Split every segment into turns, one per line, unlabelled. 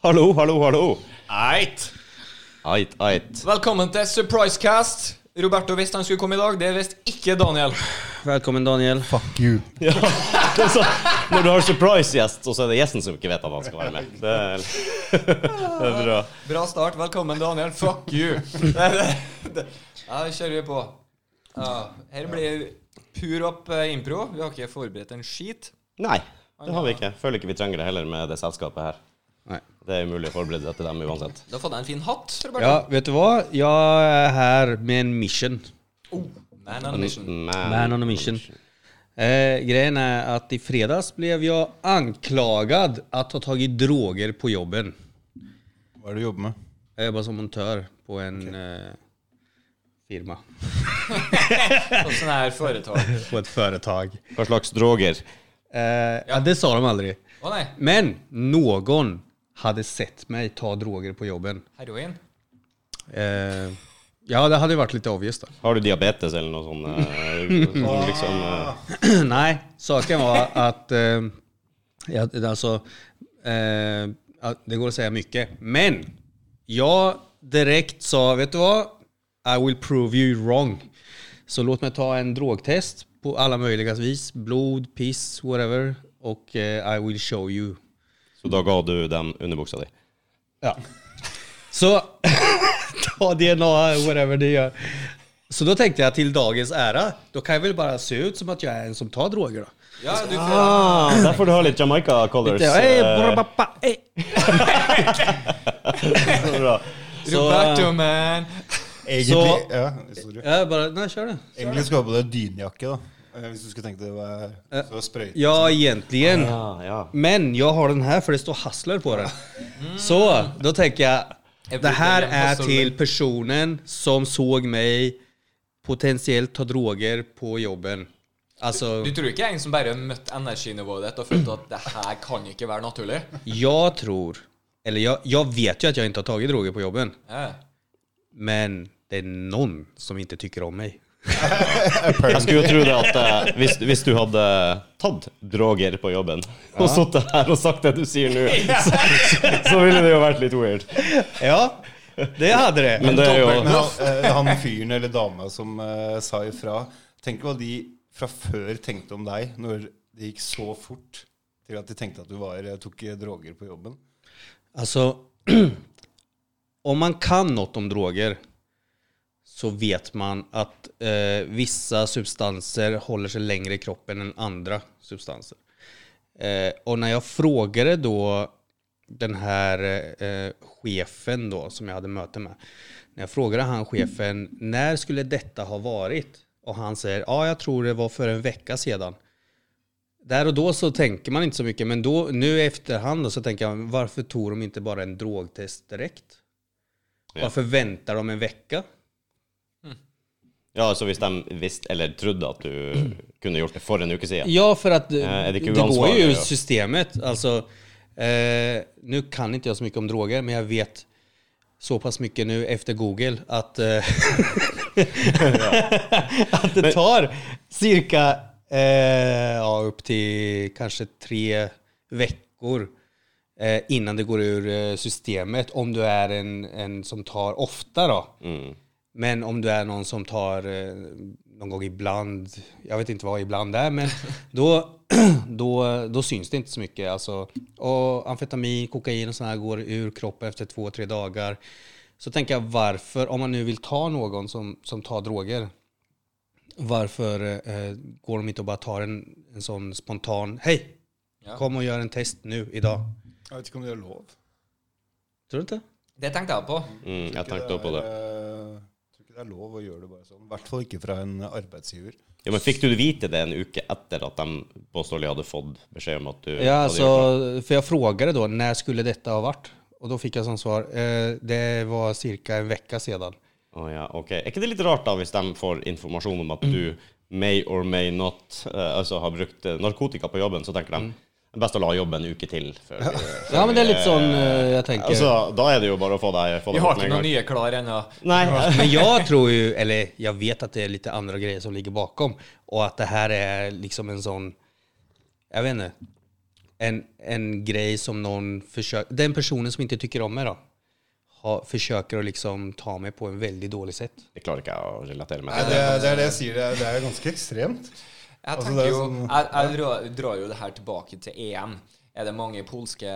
Hallo, hallo, hallo.
Eit.
Ait, ait.
Velkommen til Surprisecast. Roberto visste han skulle komme i dag, det visste ikke Daniel.
Velkommen, Daniel.
Fuck you.
Ja. det er så- Når du har surprise-gjest, og så er det gjesten som ikke vet at han skal være med. Det er, det er bra.
Bra start. Velkommen, Daniel. Fuck you. Det, det, det. Ja, vi kjører på. Ja, her blir pur opp eh, impro. Vi har ikke forberedt en skit.
Nei, det har vi ikke. Føler ikke vi trenger det heller med det selskapet her.
Nei.
Det er umulig å forberede seg til dem uansett.
Du har fått deg en fin hatt, Roberto.
Ja, vet du hva? Jeg er her med en mission.
Man on a mission.
Man on a mission. Eh, grejen er at i fredags ble jeg anklaget at ha tatt droger på jobben.
Hva er det du jobber med?
Jeg jobber som montør på en eh, firma.
Sånn sånn her foretak.
På et foretak. Eh,
Hva slags droger?
ja, det sa de aldri.
Å nei.
Men noen hadde sett meg ta droger på jobben.
Heroin.
Eh, ja, det hadde vært litt obvious, da.
Har du diabetes eller noe sånt? eh, sånn liksom, eh,
Nei, saken var at eh, ja, det- Alltså, eh, at det går å si mye. Men jeg direkte sa Vet du hva? I will prove you wrong. Så låt meg ta en drogtest på alle mulige vis. Blod, piss, whatever. Og eh, I will show you.
så da ga du dem underbuksa di?
Ja. Så ta DNA, whatever det gjør. Så da tenkte jeg til dagens ære, da kan jeg vel bare se ut som at jeg er en som tar droger, da.
Ja, du får
Ah, derfor du har litt Jamaica colors.
Litt, eh, brabappa, eh.
så bra.
Roberto, man.
Egentlig,
Så-
ja, sorry.
Ja, bare, nei, kjør det.
Egentlig skulle du ha på deg dynjakke, da. Eh, Hvis du skulle tenke det var
Eh,
så sprøyte.
Ja, egentlig.
Ja, Ah, ja.
Men jeg har den her, for det står Hasler på den. Så da tenker jeg Det her er til personen som så meg potensielt ta droger på jobben. Altså
Du tror ikke jeg er en som bare møtte energinivået ditt og følte at det her kan ikke være naturlig?
Jeg tror Eller jeg, jeg vet jo at jeg ikke har tatt droger på jobben,
Ja.
men det er noen som ikke tykker om meg.
Jeg skulle jo tro det at eh, hvis, hvis du hadde tatt droger på jobben og sittet her og sagt det du sier nå, så, så, så ville det jo vært litt weird.
Ja, det hadde det.
Men det er jo
Men han, eh, han fyren eller dama som eh, sa ifra Tenk hva de fra før tenkte om deg når det gikk så fort til at de tenkte at du var, eh, tok eh, droger på jobben.
Alltså, om man kan något om droger så vet man att eh, vissa substanser håller sig längre i kroppen än andra substanser. Eh, och när jag frågade då den här eh, chefen då, som jag hade möte med. När jag frågade han chefen, när skulle detta ha varit? Och han säger, ja jag tror det var för en vecka sedan. Där och då så tänker man inte så mycket, men då, nu i efterhand då, så tänker jag, varför tog de inte bara en drogtest direkt? Varför väntar de en vecka?
Ja, så hvis de visste eller trodde at du kunne gjort det for en uke siden
Ja, för att
är det
det,
kul
går
ansvar,
ju ur
ja.
systemet. Alltså, eh, nu kan inte jag så mycket om droger, men jag vet så pass mycket nu efter Google att, eh, att det tar cirka eh, ja, upp till kanske tre veckor eh, innan det går ur eh, systemet om du är en, en som tar ofta. Då. Men om du är någon som tar eh, någon gång ibland, jag vet inte vad ibland är, men då, då, då syns det inte så mycket. Alltså, och amfetamin, kokain och sådana här går ur kroppen efter två, tre dagar. Så tänker jag varför, om man nu vill ta någon som, som tar droger, varför eh, går de inte och bara tar en, en sån spontan, hej,
Ja.
kom och gör en test nu, idag.
Jeg vet ikke om det er lov.
Tror du inte?
Det tenkte jeg på.
mm, Jeg tenkte også på det.
eh, Jeg tror ikke det er lov å gjøre det bare sånn. I hvert fall ikke fra en arbeidsgiver.
Ja, men Fikk du vite det en uke etter at de påståelig hadde fått beskjed om at du
Ja,
hadde gjort det?
alltså, för jag frågade då när skulle detta ha varit? Och då fick jag som svar, eh, det var cirka en vecka sedan.
Å ja, ok. Er ikke det litt rart, da, hvis de får informasjon om at du may or may not eh, altså har brukt eh, narkotika på jobben, så tenker de det er best å la jobben en uke til før vi
Ja, men det är lite sån eh, jag tänker.
Altså, da er det jo bare å få deg få
Vi
deg
har
bort med
ikke
en
noen
gang.
nye klar ennå.
Nei.
Men jag tror ju, eller jag vet att det är lite andra grejer som ligger bakom och att det här är liksom en sån, jag vet inte, en, en grej som någon försöker, den personen som inte tycker om mig då, har, försöker att liksom ta mig på en väldigt dålig sätt.
Det klarer ikke jeg å relatere meg
Nei,
til.
det, er- det er det jeg sier. Det er, det er ganske ekstremt.
Jeg
Altså,
tenker
det er
jo,
sånn-
jeg, jeg drar, drar jo det her tilbake til EM. Er det mange polske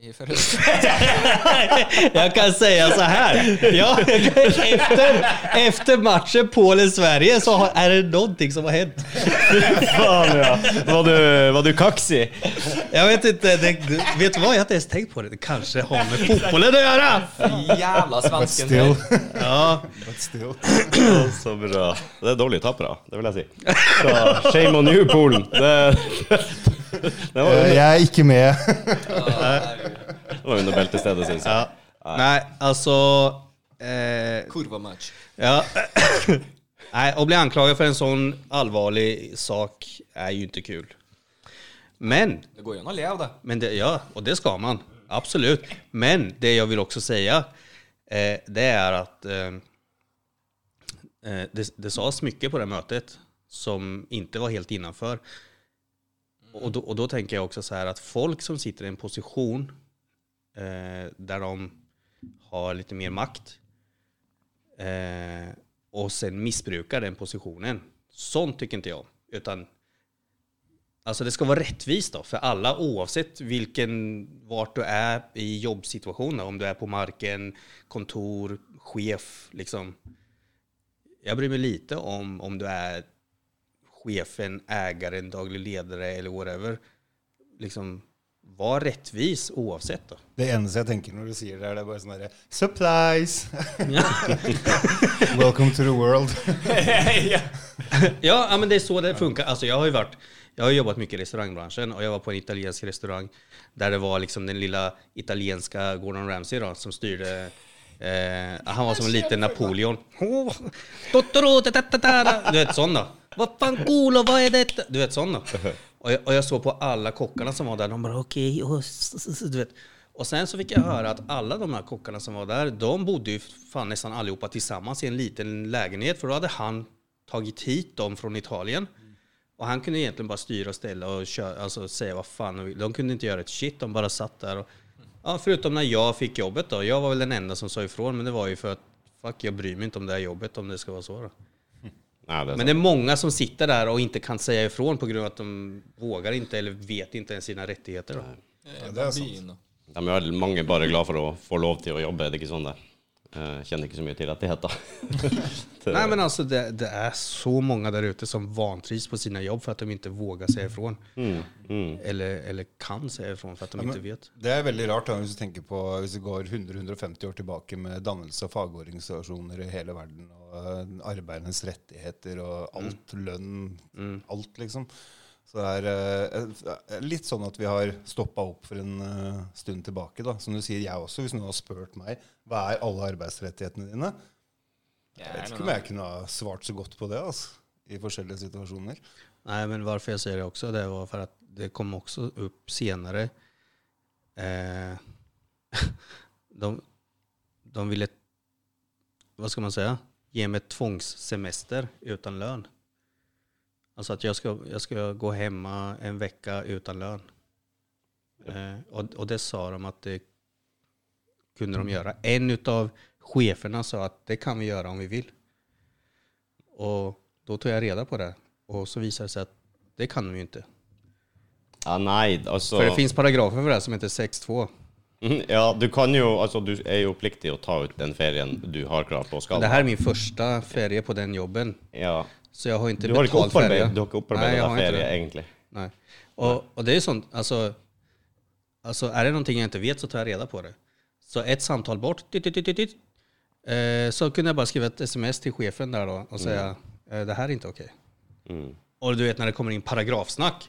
i forhøyden?
Jag kan säga så här. Ja, efter, efter matchen Polen-Sverige så har, är det någonting som har hänt.
Faen, ja. Var du, var du kaksi?
Jag vet inte, det, du- vet du vad? Jag har inte ens tänkt på det. Det kanske har med fotbollen att göra.
Jævla svensken
Still.
der.
Ja,
But still.
Så bra. Det er dårlige tapere, det vil jeg si. Så, shame on you, Polen. Det, det var
Eh,
under,
Jeg er ikke med.
det var under beltestedet, syns jeg.
ja. Nej, alltså... Eh,
Kurva-match.
Ja. Nej, att bli anklagad för en sån allvarlig sak är ju inte kul. Men,
Det går jo an å leve, det.
men det, ja, och det ska man. Absolut. Men det jag vill också säga, eh, det är att eh, eh, det, det sades mycket på det här mötet som inte var helt innanför. Och då, och då tänker jag också så här att folk som sitter i en position eh, där de har lite mer makt eh, och sen missbrukar den sånn positionen. Sånt tycker inte jag. Utan Alltså det ska vara rättvist då för alla oavsett vilken, vart du är i jobbsituationen. Om du är på marken, kontor, chef liksom. Jag bryr mig lite om om du är chefen, ägaren, daglig ledare eller whatever. Liksom, var rättvis oavsett då.
Det eneste jeg tenker når du sier det, er det bare sånn derre Surprise! Welcome to the world.
Ja, ja, men det är så det funkar. Alltså, jag har ju varit, jag har jobbat mycket i restaurangbranschen och jag var på en italiensk restaurang där det var liksom den lilla italienska Gordon Ramsay då, som styrde eh, han var som en liten Napoleon. Åh, Totoro, ta-ta-ta-ta-ta. Du vet sån då. Vad fan cool vad är detta? Du vet sån då. Och jag, och jag såg på alla kockarna som var där. De bara okej, och s- s- s- du vet. Och sen så fick jag höra att alla de här kockarna som var där, de bodde ju fan nästan allihopa tillsammans i en liten lägenhet. För då hade han tagit hit dem från Italien. Och han kunde egentligen bara styra och ställa och köra, alltså säga vad fan de ville. De kunde inte göra ett shit, de bara satt där. Och, ja, förutom när jag fick jobbet då. Jag var väl den enda som sa ifrån, men det var ju för att fuck, jag bryr mig inte om det här jobbet om det ska vara så. Då.
Nei, det er
Men det är många som sitter där och inte kan säga ifrån på grund av att de vågar inte eller vet inte ens sina rättigheter. Då.
Ja, det er sant.
Byen og-
sant. De er vel mange bare glad for å få lov til å jobbe, er det ikke sånn det? Eh, Kjenner ikke så mye til rettigheter. Det-
Nej men alltså det, det är så många där ute som vantrivs på sina jobb för att de inte vågar säga ifrån. Eller, eller kan säga ifrån för att de
men-
inte vet.
Det er veldig rart da, hvis du tenker på hvis du går 100-150 år tilbake med dannelse av fagorganisasjoner i hele verden, og eh, arbeidernes rettigheter og alt, lønn, alt liksom. Så det er eh, litt sånn at vi har stoppa opp for en eh, stund tilbake. da. Som du sier, jeg også, hvis noen har spurt meg hva er alle arbeidsrettighetene dine, jeg vet ikke om jeg kunne ha svart så godt på det. altså, I forskjellige situasjoner.
Nej, men varför jag säger det också, det var för att det kom också upp senare. Eh, de, de ville, vad ska man säga, ge mig tvångssemester utan lön. Alltså att jag ska, jag ska gå hemma en vecka utan lön. Eh, och, och det sa de att det kunde de göra. En av cheferna sa att det kan vi göra om vi vill. Och då tog jag reda på det. Och så visade det sig att det kan de ju inte.
Ja, nei, altså
För det finns paragrafer för det här som heter 6.2.
Mhm, Ja, du kan jo Altså, du er jo pliktig å ta ut den ferien du har krav på å skal.
Det här är min första ferie på den jobben.
Ja.
Så jag har inte
Du har ikke
betalt ferie.
opparbeidet, du har ikke
Nej,
opparbeidet
jag
deg
har inte
ferie,
det.
egentlig.
Nej. Och, och det är ju sånt, alltså, alltså är det någonting jag inte vet så tar jag reda på det. Så ett samtal bort, dit, dit, dit, dit, dit. Eh, så kunde jag bara skriva ett sms till chefen där då och säga eh, det här är inte okej.
Mm.
Och du vet när det kommer in paragrafsnack,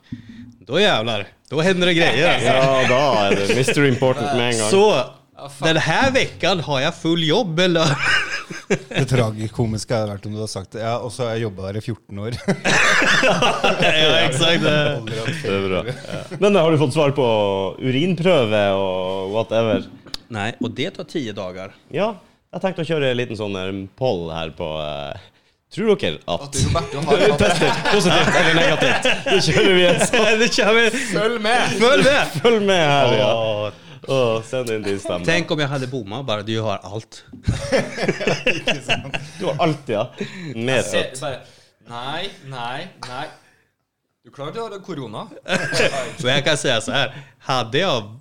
då jävlar, då händer det grejer. Alltså.
Ja, da er det Mr. Important med en gang.
Så
fan.
den här veckan har jag full jobb eller?
Det tragikomiske hadde vært om du hadde sagt det. Ja, og så har jeg jobba her i 14 år.
ja, exakt.
Aldri hatt
Det er bra. Men eh, har du fått svar på urinprøve og whatever?
Nej, och det tar tio dagar.
Ja, jeg tenkte å kjøre en liten sånn eh, poll her på eh, Tror dere at
At Roberto har hatt
Tester, positivt eller negativt. Nå kjører vi en sånn.
Det kommer
Følg med!
Følg med!
Følg med her, ja. Å, send inn din stemme.
Tenk om jeg hadde bomma, bare du har alt.
Du har alltid ja.
Se,
medfødt.
bare, nei, nei, nei. Du klarer ikke å ha korona.
Så jeg kan si så her, hadde jeg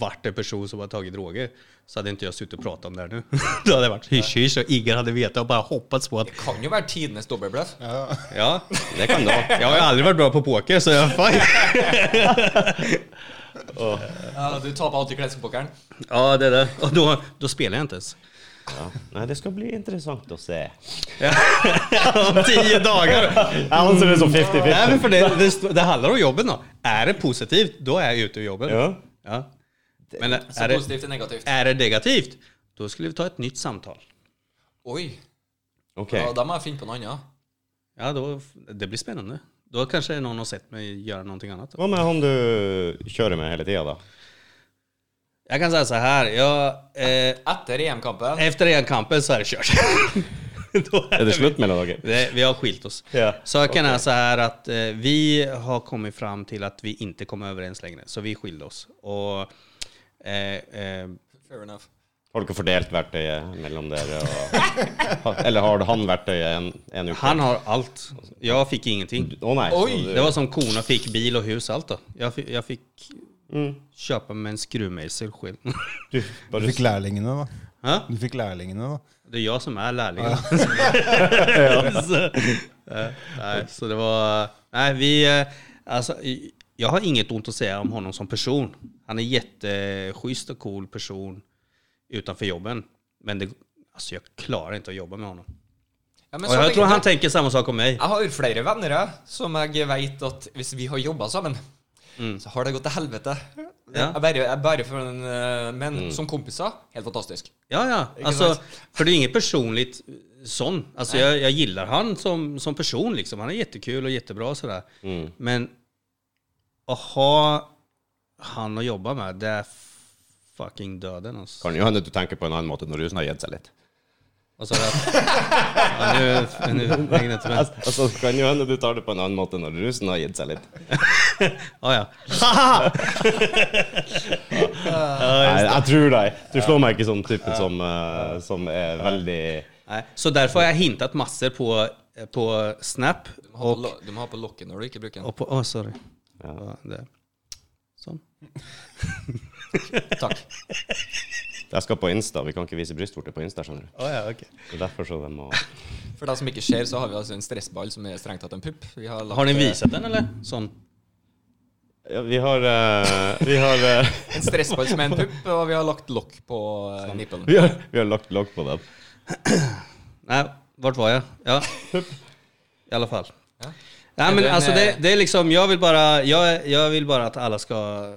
vært en person som har tatt droger, så hadde ikke jeg sittet og pratet om det her nå. Da hadde jeg vært hysj-hysj, og ingen hadde visst og bare hoppet på at
Det kan jo være tidenes dobbeltbløff.
Ja,
Det kan du ha.
jeg har jo aldri vært bra på poker, så jeg faen.
Ja, du taper alltid klespokeren.
Ja, det er det. Og da, da spiller jeg ikke ens.
Ja. Nei, det skal bli interessant å se.
Om ti dager.
Jeg anser det som 50-50.
Nei, men for det, det, st- det handler om jobben, da. Er det positivt, da er jeg ute av jobben.
Ja.
Ja. Men
Så
er det,
positivt og negativt.
er det negativt, da skulle vi ta et nytt samtale.
Oi,
Ok.
ja, da må jeg finne på noe annet.
Ja, då, det blir spennende. Da kanskje noen har sett meg gjøre noe annet.
Hva med han du kjører med hele tida, da?
Jeg kan si så her, jag, eh,
Etter EM-kampen
efter en kampen så er det kjørt. Då är
Er det
vi-
slutt mellom dere?
Det, vi har skilt oss.
Ja.
Så kan jag säga här att eh, vi har kommit fram till att vi inte kom överens längre, så vi skilde oss. Och, eh, eh,
Fair enough.
Har dere fordelt verktøyet mellom dere? Og, eller har han verktøyet en, en uke?
han har allt. Jag fick ingenting.
Å nei.
Oi!
så
Det var som kona fick bil och hus, allt då. Jag, fi- jag fick
Mm.
köpa med en skruvmejsel själv.
Du, du,
Du
bare
fikk lærlingene, da.
Ja?
Du fikk lærlingene, da.
Det er jeg som er lærlingen. så, eh, nei, så det var Nei, vi eh, Altså, i- jeg har inget vondt å si om honom som person. Han er jätteschysst og cool person utenfor jobben. Men det, altså, jeg klarer ikke å jobbe med honom.
Ja, men
Og
så
jeg
tenker
tror
jeg-
han tenker samme sak om meg.
Jeg har flere venner jeg, som jeg vet at hvis vi har jobba sammen, så har det gått til helvete.
Ja.
Jeg bare, jeg bare for en, eh, men som kompiser helt fantastisk.
Ja, ja.
Ikke
Alltså,
sant?
for det er inget personlig sånn. Alltså, jeg, jeg gillar han som, som person. Liksom. Han er jättekul og jättebra. og Sådär. Men å ha han å jobbe med, det er fucking døden. Altså.
kan jo hende du tenker på en annen måte når rusen har gitt seg litt.
Og så er det, ja, nu- nu hänger det inte med.
Altså, kan jo hende du tar det på en annen måte når rusen har gitt seg litt.
Ja, ja.
Nei, jeg tror deg. Du slår meg ikke som typen som, eh, som er veldig
Nej. Så derfor har jeg hintet masse på, på Snap.
Du må, ha på,
Og,
lo- du må ha på lokket når du ikke bruker den.
og på Å, sorry.
Ja.
Ja, det. Sånn.
Takk.
Jeg skal på Insta. Vi kan ikke vise brystvorter på Insta, skjønner du.
Oh, ja, okay.
Så derfor så de må
For deg som ikke ser, så har vi altså en stressball som er strengt tatt en pupp. Vi har, lagt,
Har ni
eh,
visat den, eller? Sånn.
ja, Vi har eh, Vi har eh,
En stressball som er en pupp, og vi har lagt lokk på eh, nippelen.
Vi har, vi har lagt lokk på den.
Nei, vart var jeg? Ja. I alla fall.
Ja.
Nej, men
Den,
alltså
eh,
det, det är liksom, jag vill bara, jag, jag vill bara att alla ska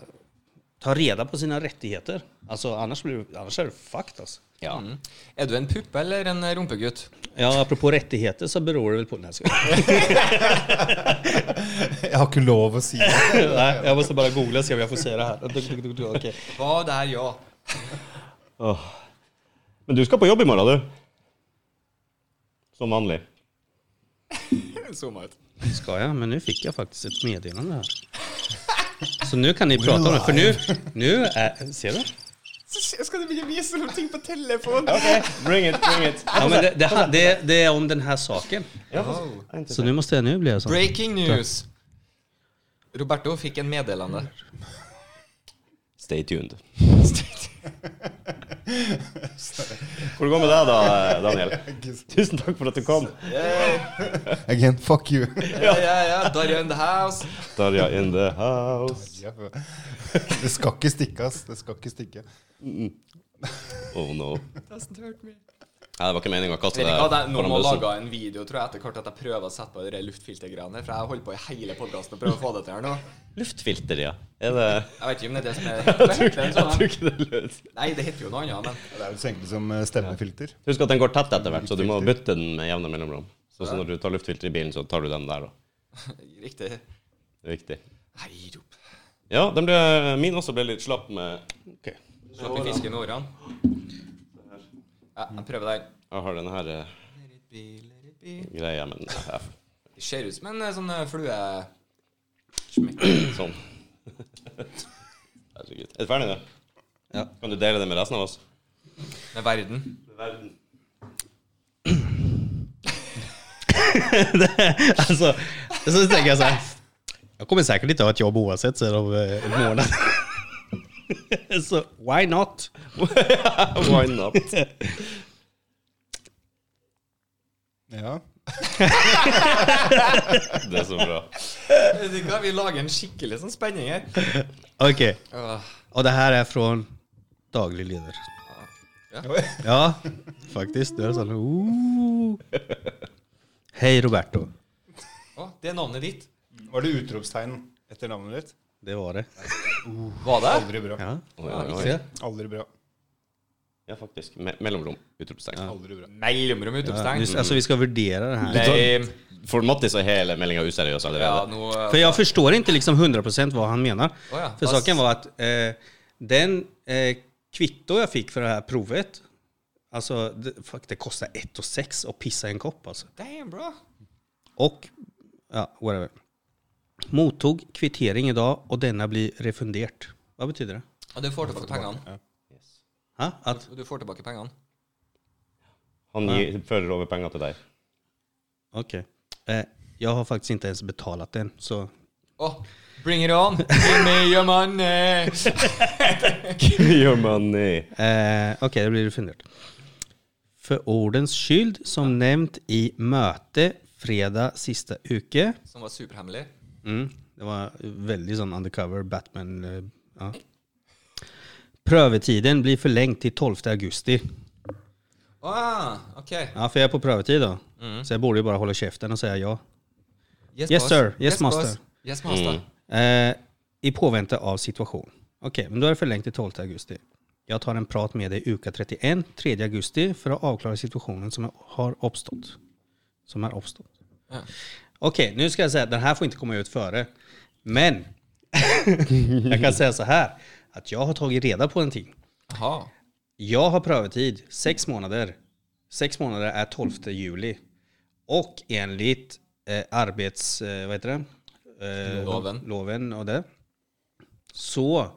ta reda på sina rättigheter. Alltså annars, blir, det- annars är det fucked altså. alltså.
Ja.
Mm. Er du en pupp eller en rumpegutt?
Ja, apropå rättigheter så beror det väl på... Nej, jag skojar.
Jeg har ikke lov å si det.
Nej, jag måste bara googla och se om jag får säga det här. Okej.
Hva der, ja.
Åh. Men du skal på jobb i morgen, du. Som vanlig.
Zooma ut.
Ska jag? Men nu fick jag faktiskt ett meddelande här. Så nu kan ni prata om det, för nu, nu är, ser du?
Skal du ikke vise noen ting på telefon?
Bring it, bring it.
Ja, men det, det, här- det, det är om den här saken.
Wow.
Så nu måste jag, nu blir jag sån.
Breaking news. Roberto fikk en meddelende.
Stay tuned. Hvor går det med deg da, eh, Daniel? Tusen takk for at du kom.
Again, fuck you.
Ja, ja, ja. Darja in the house.
Darja in the house.
Det skal ikke stikke, ass. Det skal ikke stikke.
Oh no.
Doesn't hurt me.
Nei, det var ikke meninga å kaste
Vet
deg
ikke hva, det er, nå
foran
må jeg
bussen.
lage en video, tror jeg, etter hvert at jeg prøver å sette på de der luftfiltergreiene. For jeg har holdt på i hele podkasten og prøver å få det til her nå.
Luftfilter, ja. Er det
Jeg vet ikke om det er det som er det
Jeg
heter en sånn
tror
her.
ikke det er lurt.
Nei, det heter jo noe annet, men
Det er jo så enkelt som eh, stemmefilter.
Husk at den går tett etter hvert, så du må bytte den med jevne mellomrom. Så, så når du tar luftfilter i bilen, så tar du den der, da.
riktig.
Det er viktig.
Hei, rop.
Ja, den ble, min også ble litt slapp med
Okej.
Slapp i fisken i årene. Ja, jeg prøver der.
Jeg har den her eh,
Let it be, let it hippie.
greia, men eh, ja,
Det ser ut som en eh, sånn eh, flue...
sånn. Herregud. Er du ferdig nå? Ja. Kan du dele det med resten av oss?
Med verden.
Verden.
alltså, Altså, så tänker jag så här. Jag kommer säkert inte ha ett jobb oavsett sen om eh, en månad. så why not?
Why not?
Ja.
Det er så bra.
Vet du hva, Vi lager en skikkelig sånn spenning her.
Okej,
Åh.
och det här är från Daglig Leder. Ja, faktiskt. Du är sån. Ooh. Hej uh. Roberto.
Åh, det er navnet ditt.
Var det utropstegn etter navnet ditt?
Det var det.
Var det?
Aldri bra.
Ja,
Oi, oi, oi.
se.
Aldri bra.
Ja, faktisk. Me mellomrom. Utropstegn.
Aldri bra.
Mellomrom utropstegn.
Nu, alltså Altså, vi ska värdera det här.
Nei,
For Mattis er hele meldinga useriøs
ja,
allerede.
nå
För jag förstår inte liksom 100% vad han menar.
Åh, ja.
För
Fast-
saken var att eh, den eh, kvitto jag fick för det här provet, alltså det, fuck, det kostar 1 och 6 att pissa i en kopp alltså.
Damn, bro.
Och, ja, whatever. Mottog kvittering idag och denna blir refunderat. Vad betyder det?
Ja, du får tilbake pengene.
Ha? Att,
Du får tilbake pengene.
Han gir, fører over penger til deg.
okej. Eh, jag har faktiskt inte ens betalat den, så
Åh, bring it on! Give me your money!
Your money.
Eh, Okej, det blir refunderat. För ordens skyld som nämnt i möte fredag sista uke.
Som var superhemmelig.
Mm, det var väldigt sån undercover Batman. Eh, ja. Prövetiden blir förlängd till 12 augusti.
Ah, ok.
Ja, för jag är på prövetid då. Så jeg borde ju bara hålla käften och säga ja. Yes,
boss.
sir. Yes, master.
boss. Mm. Yes, master.
Eh, I påvänta av situation. Okej, men då är det förlängt till 12 augusti. Jag tar en prat med dig uka 31, 3 augusti, för att avklara situationen som har uppstått. Som har uppstått.
Ja.
Okej, nu ska jag säga att den här får inte komma ut före. Men jag kan säga så här, att jag har tagit reda på en ting.
Jaha.
Jag har prövetid sex månader. Sex månader är 12 juli. Och enligt eh, arbets... Eh, vad heter det? Eh,
Loven.
Loven och det. Så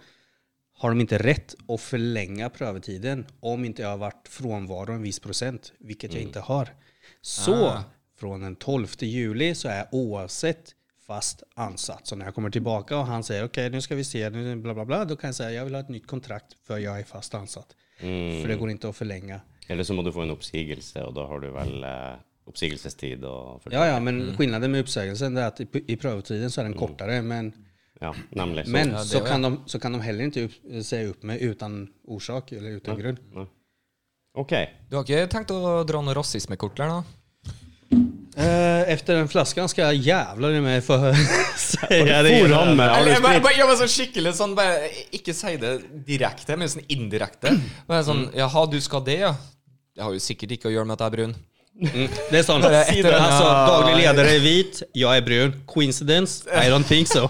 har de inte rätt att förlänga prövetiden om inte jag har varit frånvaro en viss procent, vilket jag inte har. Så från den 12 juli så är jag oavsett fast ansatt. Så när jag kommer tillbaka och han säger okej nu ska vi se, nu bla bla bla, då kan jag säga jag vill ha ett nytt kontrakt för jag är fast ansatt. För det går inte att förlänga.
Eller så må du få en oppsigelse, og da har du vel eh, oppsigelsestid og
Ja, ja, men skillnaden med uppsägelsen är att i, i prövotiden Mm. så är den kortare, men
Ja, nemlig. Så.
Men
det
så,
var-
kan de, så kan de heller inte upp, säga upp mig utan orsak eller utan grund.
OK.
Du har ikke tenkt å dra noe rasismekort der, da?
Eh, efter den flaskan ska jag jävlar i mig få säga det.
For han med har du
Eller,
sprit?
bare, bare, ja, men sånn skikkelig sånn bare, Ikke si det direkte, men sånn indirekte. Bare sånn Jaha, du skal det, ja? Det har jo sikkert ikke å gjøre med at jeg er brun.
Det är sånt.
Bara efter den här-
Alltså, daglig ledare är vit, jag är brun. Coincidence? I don't think so.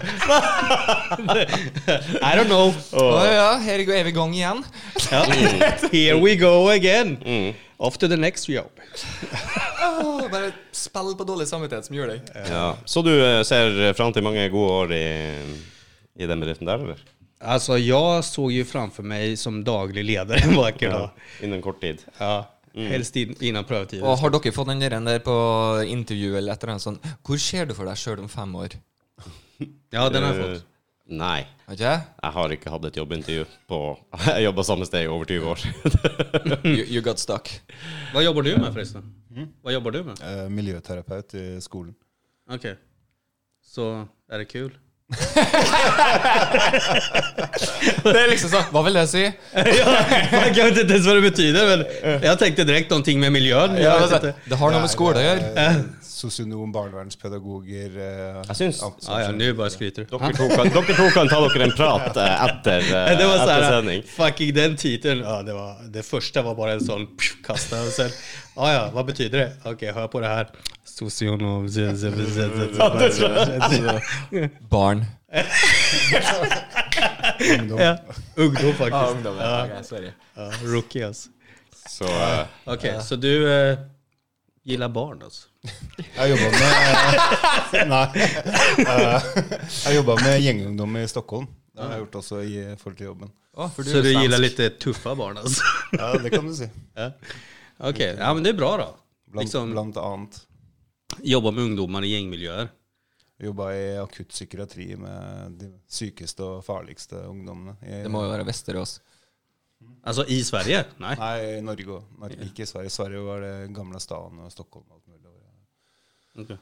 I don't know.
Å ja, her er vi i gang igjen.
Ja. Here we go again.
Mm.
Off to the next job.
Åh, bare spill på dårlig samvittighet som gjør deg.
Ja. Så du eh, ser fram til mange gode år i, i den bedriften der, eller?
Alltså jag såg ju framför mig som daglig ledare en vacker dag.
Innen kort tid.
Ja.
Mm.
Helst in, innan prövotiden.
Og har dere fått den der, der på intervju eller et eller annet sånn Hvor ser du for deg sjøl om fem år?
Ja, den har jag
Eh,
fått.
Nei.
Har ikke jeg?
Jeg har ikke hatt et jobbintervju på Jeg jobba samme sted i over 20 år.
You, you got stuck.
Vad jobbar du med förresten?
Mm.
Vad jobbar du med?
Eh, miljøterapeut i skolen.
Okej. Så är det kul?
Det er liksom sånn Hva vil det si?
Jag vet inte ens vad det betyder, men jag tänkte direkt någonting med miljön. Jag vet inte.
Altså, Det har noe med skole å gjøre.
Eh, Sosionom, barnevernspedagoger eh,
Jeg syns
Ah, Ja, ja, nu bara skryter du.
dere, to kan- dere to kan ta dere en prat eh, etter, eh,
Det var så
etter
här,
sending.
fucking den titeln. Ja, det, var, det första var bara en sånn sån pju, kasta och sen, ja, Ah, ja, vad betyder det? Okej, hör på det här. Socionom. z- z- z- z- z-
Barn.
ungdom.
Ja, Ungdom faktiskt.
sorry.
Ja, rookie alltså.
Så eh,
Okej, så du eh, gillar barn alltså?
Jeg jobba med Nei. Eh, Jeg jobba med gjengungdom i Stockholm. Det har jeg gjort også i forhold til jobben.
Å, for
Så
er
du
jo
gillar
svensk.
lite tuffa barn alltså?
Ja, det kan du si.
Okej, ja men det är bra då.
Blant,
liksom,
blant annet.
Jobba med ungdomar i gängmiljöer.
Jobba i akutt psykiatri med de sykeste og farligste ungdommene. I,
Det må jo være Vesterås.
Alltså i Sverige? Nej.
Nei, i Norge òg. Ikke i Sverige. Sverige var det gamle staden og Stockholm og alt mulig.
Okej.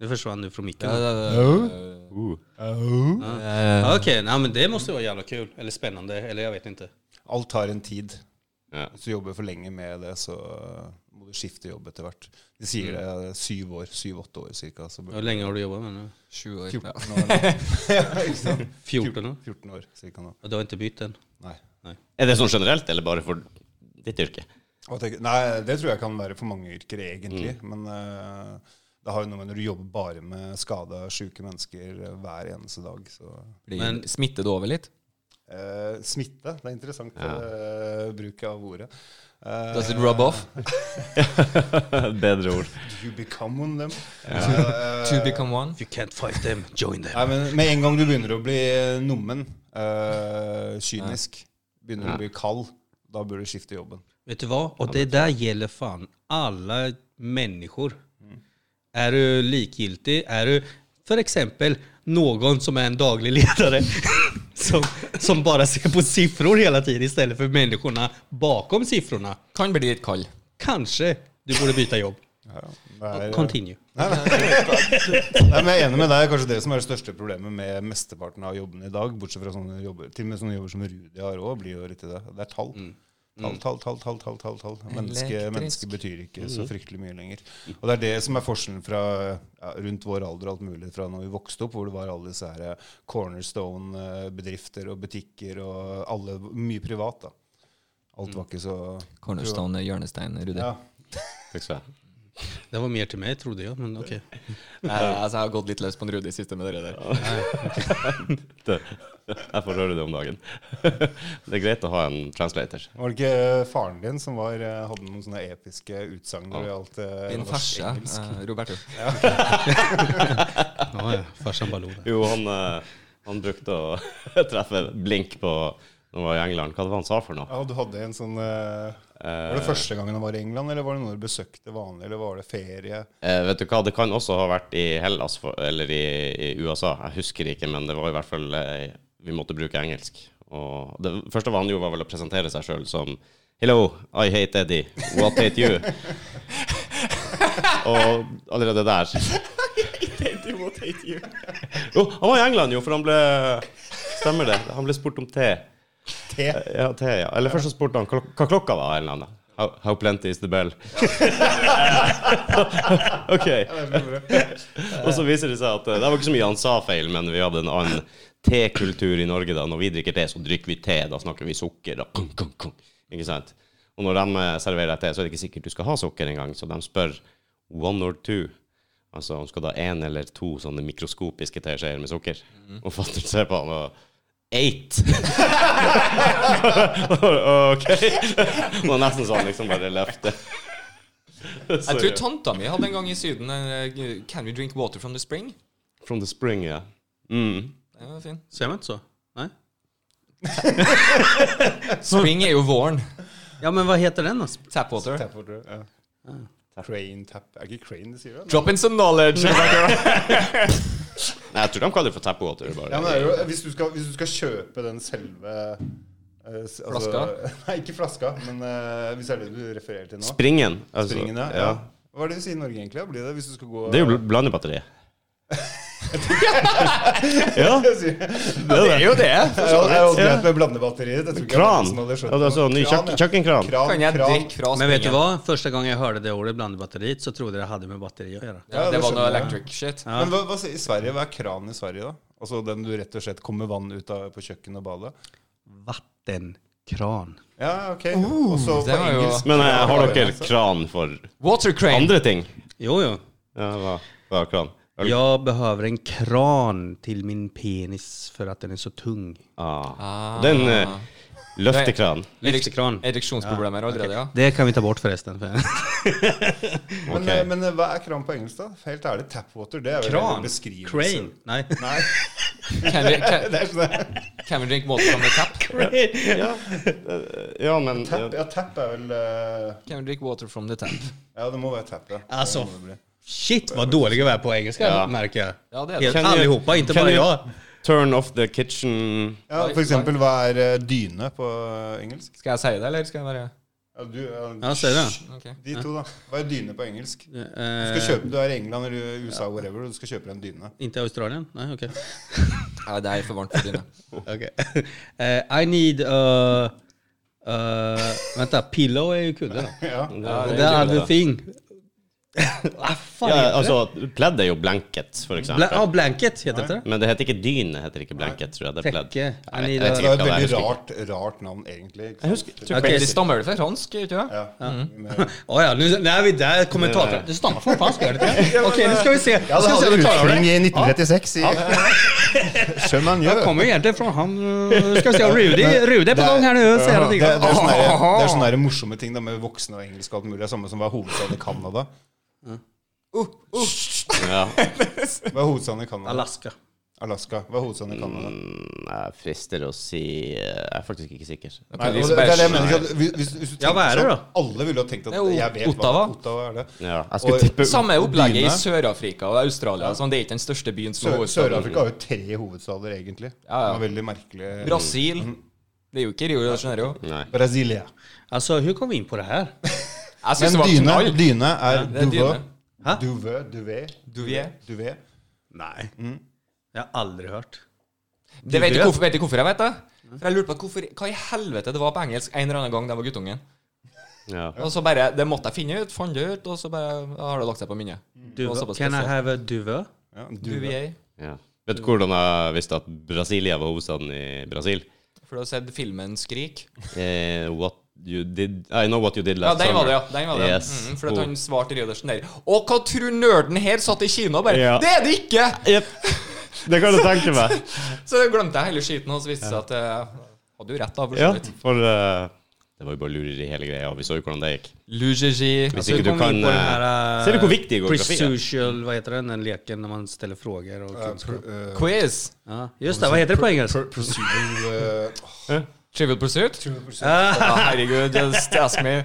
Nu försvann du från micken.
Ja, Oh. det,
Okej, nej, men det måste ju vara jävla kul. Eller spännande, eller jag vet inte.
Alt har en tid.
Ja.
Hvis du jobber for lenge med det, så eh, må du skifte jobb etter hvert. De sier det er syv år, syv-åtte år cirka. Så
Hur länge har du jobbat med det nu?
Sju år. Ja.
14 år, da. Ja, ikke sant?
14 år?
14 år cirka nå.
Och du har inte bytt än?
Nei.
Er det sånn generelt, eller bare for ditt yrke?
Og tenk- nei, det tror jeg kan være for mange yrker egentlig. Men eh, det har jo noe med når du jobber bare med skada, sjuke mennesker eh, hver eneste dag. Så
Blir
Men-
smittet over litt?
eh, smitte, det er interessant eh, bruk av ordet. Eh,
Does it rub off?
Bedre ord.
Eh, You become one them. Eh,
To become one?
You can't fight them, join them.
Nei, men Med en gang du begynner å bli nummen, eh, kynisk, begynner å bli kald, da burde du skifte jobben.
Vet du vad? Och det där gäller fan alla människor. Är du likgiltig? Är du för exempel någon som är en daglig ledare som, som bara ser på siffror hela tiden istället för människorna bakom siffrorna.
Kan bli litt kald.
Kanske du borde byta jobb.
Ja, det er-
Continue.
Nei, men jeg er enig med deg. Kanskje det som er det største problemet med mesteparten av jobbene i dag, bortsett fra sånne jobber, til og med sånne jobber som Rudi har òg, blir jo litt i det. Det er tall. Tall, tall, tall, tall, tall, tall, tall. Menneske,
Elektrisk.
menneske betyr ikke så fryktelig mye lenger. Og det er det som er forskjellen fra ja, rundt vår alder og alt mulig fra når vi vokste opp, hvor det var alle disse her eh, cornerstone-bedrifter og butikker og alle Mye privat, da. Alt var ikke så
Cornerstone, hjørnestein, Rudi.
Ja.
Takk skal du ha.
Det var mer till mig trodde jag, men okej.
Nei, altså, jeg har gått litt løs på en Rudi siste med dere der.
Det- Jeg får høre det om dagen. Det er greit å ha en translator.
Var det ikke faren din som var, eh, hadde noen sånne episke utsagn når det gjaldt eh,
Din
norsk-
farse,
engelsk?
eh, Roberto.
Ja, ja. Farsan bara log.
Jo, han, eh, han brukte å treffe blink på når han var i England. Hva det var han sa for noe?
Ja, du hadde en sånn eh, Var det første gangen han var i England, eller var det når du besøkte vanlig, eller var det ferie?
Eh, vet du hva, det kan også ha vært i Hellas for, eller i, i USA. Jeg husker ikke, men det var i hvert fall eh, Vi måtte bruke engelsk. Og det første han gjorde, var vel å presentere seg sjøl som Hello, I hate Eddie. What hate you? Og allerede der What hate you? Jo, han var i England, jo, for han ble Stemmer det. Han ble spurt om te.
Te?
Ja, te, ja. Eller først så spurte han klok hva klokka var, eller noe. How, how plenty is the bell? ok. Og så viser det seg at eh, det var ikke så mye han sa feil, men vi hadde en annen tekultur i Norge da. Når vi drikker te, så drikker vi te. Da snakker vi sukker. Da. Kong, kong, kong. Ikke sant? Og når de eh, serverer deg te, så er det ikke sikkert du skal ha sukker engang. Så de spør one or two. Altså om du skal da én eller to sånne mikroskopiske teskjeer med sukker. Og fatter ser på han og Eight! ok. Og nesten sånn liksom bare løfte.
Jeg tror tanta mi hadde en gang i Syden eh, Can we drink water from the spring?
From the spring, ja. Mm.
Den var fin.
Säger man inte så? Nej?
Spring er jo våren.
Ja, men vad heter den då?
Tapwater.
Tap, tror jeg.
Ah,
Ja. Crane tap Er ikke crane de sier? det?
Drop in some knowledge.
Nei, jeg tror de kaller det for tapwater. Bare.
Ja, men det er jo, hvis, du skal, hvis du skal kjøpe den selve eh, s- altså-
Flaska?
Nei, ikke flaska, men eh, hvis det er det du refererer til nå.
Springen. altså,
Springen, ja. ja. Hva er det vi sier i Norge, egentlig? da? Blir det hvis du skal gå
Det er jo bl- blandebatteriet. ja, det er det.
jo det.
Ja, det er jo
Ja.
greit med blandebatteriet. Det tror ikke jeg er
Kran.
noen som hadde skjønt.
Ja, det er sånn ny
Kran,
kjøkken-
ja.
kjøkkenkran.
Kran,
Kan jeg
kran.
drikke fra springen?
Men vet du vad? Första gången jag hörde det ordet blandbatteriet så trodde jag det hade med batteri att göra.
Ja,
Ja,
det
det
var noe
skjønner jeg.
electric shit.
Men hva, hva, sier- i Sverige, hva er kran i Sverige, da? Altså den du rett og slett kommer vann ut av på kjøkkenet og badet?
Vattenkran.
Ja, ok. og så på
det var jo-
engelsk
Men eh, har dere kran for
Water crane.
andre ting?
Jo, jo.
Ja, hva, hva er kran? Øl?
Jag behöver en kran till min penis för att den är så tung.
Ah. Den eh, Løftekran.
Lyftekran.
Ereksjonsproblemer allerede, ja.
Det kan vi ta bort, forresten.
Men,
Ok.
eh, men eh, hva er kran på engelsk, da? Helt ærlig, tapwater, det er vel en beskrivelse.
Crane. Nei.
Nei,
Can we, can,
det er sånn
can we drink water from the tap?
Ja, ja men
Tap, ja, tap er vel eh,
Can we drink water from the tap?
Ja, det må være tap, ja.
Alltså. Shit, vad dåliga vi är på engelska,
Ja.
märker jag.
Ja, det är det.
Helt
Kan ni-
allihopa, inte
kan
bara
ni-
jag.
Turn off the kitchen
Ja, for eksempel, hva er eh, dyne på eh, engelsk?
Skal jeg si det, eller skal jeg bare
Ja, du, ja,
Ja, säg det.
Ok.
De to, da. Hva er dyne på engelsk? Du skal
Eh,
kjøpe, du er i England eller USA whatever, og du skal kjøpe deg en dyne.
inte Australien? Nej, okej.
Nei, det er for varmt for dine.
Okej. Eh, I need a... eh, vänta, pillow är ju kudden.
Ja.
The other thing. ah, fan.
ja,
heter det?
altså, pledd er jo blanket, for eksempel.
Bla- ah, blanket heter inte det?
Men det heter ikke dyne, heter ikke blanket, tror jeg. Det er pledd.
Tekke.
Nei, jeg
Det
vet
er
ikke
et
hva det er,
veldig
jeg husker ikke.
rart, rart navn, egentlig.
Jeg
ikke sant?
husker tror
Ok.
Det stammer vel fra fransk, gjør det ikke det?
Ja. Med-
Oh, ja, nu när vi där, kommentatorn. Det stannar för fan, ska jag göra det? Okej, nu ska vi se.
Ja,
Nu
det
ska vi se om
hadde
vi klarar det.
utspring i 1936 i Skjønnmanjø.
Jag kommer egentligen från han... eh, Ska vi se om Rudi, Rudi är på gång här nu och säger någonting.
Det, det er sånne, der- det
Ah.
er sånne der morsomme ting da, med voksne og engelsk og alt mulig. Det er samme som var hovedstaden i Canada.
Ja.
Hva er hovedstaden i Canada?
Alaska.
Alaska. Hva er hovedstaden i Canada?
Mm, Jeg frister å si eh, Jeg er faktisk ikke sikker.
Nei,
Kan
og
vi
det, det er det
bare-
jeg mener. ikke at Hvis, hvis, hvis du
Ja, hva er det
tenker
da?
sånn, Alle ville ha tenkt at
Det er jo
jeg vet
Ottawa.
hva Ottawa er. det.
Ja, jeg
Og-
skulle tippe
Samme opplegget i
Dyne.
Sør-Afrika og Australia. Sånn, det er ikke den største byen som er
Sør-
hovedstaden.
Sør-Afrika har jo tre hovedstader, egentlig.
Ja, ja.
Det var veldig merkelig.
Brasil.
Mhm.
Det er jo ikke Rio de Janeiro.
Nei.
Brasilia.
Alltså, hur Altså, kom vi in på det här?
Jeg syns
Men
det var
dyne,
knall.
dyne er
det er
duvet.
dyne.
Hæ?
Duvet, duvet,
Duvet.
duvet.
Nej. Jag har aldrig hört.
Det vet du hvorfor, vet du hvorfor jeg vet det? For jeg lurte på hvorfor, Hva i helvete det var på engelsk en eller annen gang da jeg var guttungen.
Ja.
Og så bare, Det måtte jeg finne ut, fant det ut, og så bare ja, har det lagt seg på minnet. Det var
Duva.
såpass
Can I
spesielt.
have a duva?
Ja, duvet.
Duvier.
Ja. Vet du hvordan jeg visste at Brasilia var hovedstaden i Brasil?
For du har sett filmen 'Skrik'?
Eh, what you did I know what you did
Ja,
last
den var
summer.
det, ja. Den var det.
Yes.
Mm, for at
Oh.
han svarte Rydersen der. Og hva tror nerden her satt i Kina og bare
Ja.
Det er det ikke!
Det kan du tenke meg.
Så det glemte jeg hele skiten, og så viste det seg at eh, Hadde jo rett, da. for så
Ja,
vidt.
for eh, det var jo bare lureri hele greia, og vi så jo hvordan det gikk.
Lugegi.
Hvis
Så
ikke du
kom vi
kan
in på den
eh,
här, eh,
Ser du hvor viktig geografi er?
Presocial, vad heter den, den leken när man ställer frågor och kunskap?
Eh,
Quiz.
Ja, just det, vad heter det på engelska?
pr- Procedural eh,
Trivial Pursuit.
Ah,
Ja, herregud, just ask me.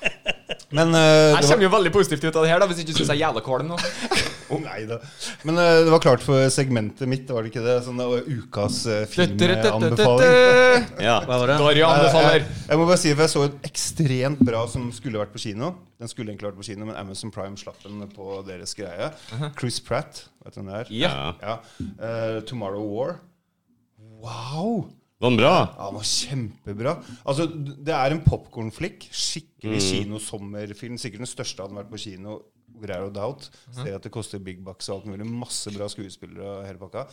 Men eh,
Jeg
det var,
kommer jo veldig positivt ut av det her, da, hvis ikke du syns jeg er jævla kvalm nå.
Å, Oh, nei, da. Men eh, det var klart for segmentet mitt, var det ikke det? Sånn eh, ukas eh, filmanbefaling.
Dori
Ja.
vad var det?
Jeg,
anbefaler.
eh, jeg må bare si, for jeg så en ekstremt bra som skulle vært på kino. Den skulle egentlig vært på kino, men Amazon Prime slapp den på deres greie. Chris Pratt, vet du hvem det er?
Ja.
Ja. Eh, 'Tomorrow War'. Wow!
Var den bra?
Ja, den var kjempebra. Altså, Det er en popkornflikk. Skikkelig
Mm.
kinosommerfilm. Sikkert den største hadde vært på kino. Greier og doubt.
Mhm.
Ser at det koster big bucks og alt mulig. Masse bra skuespillere og hele pakka.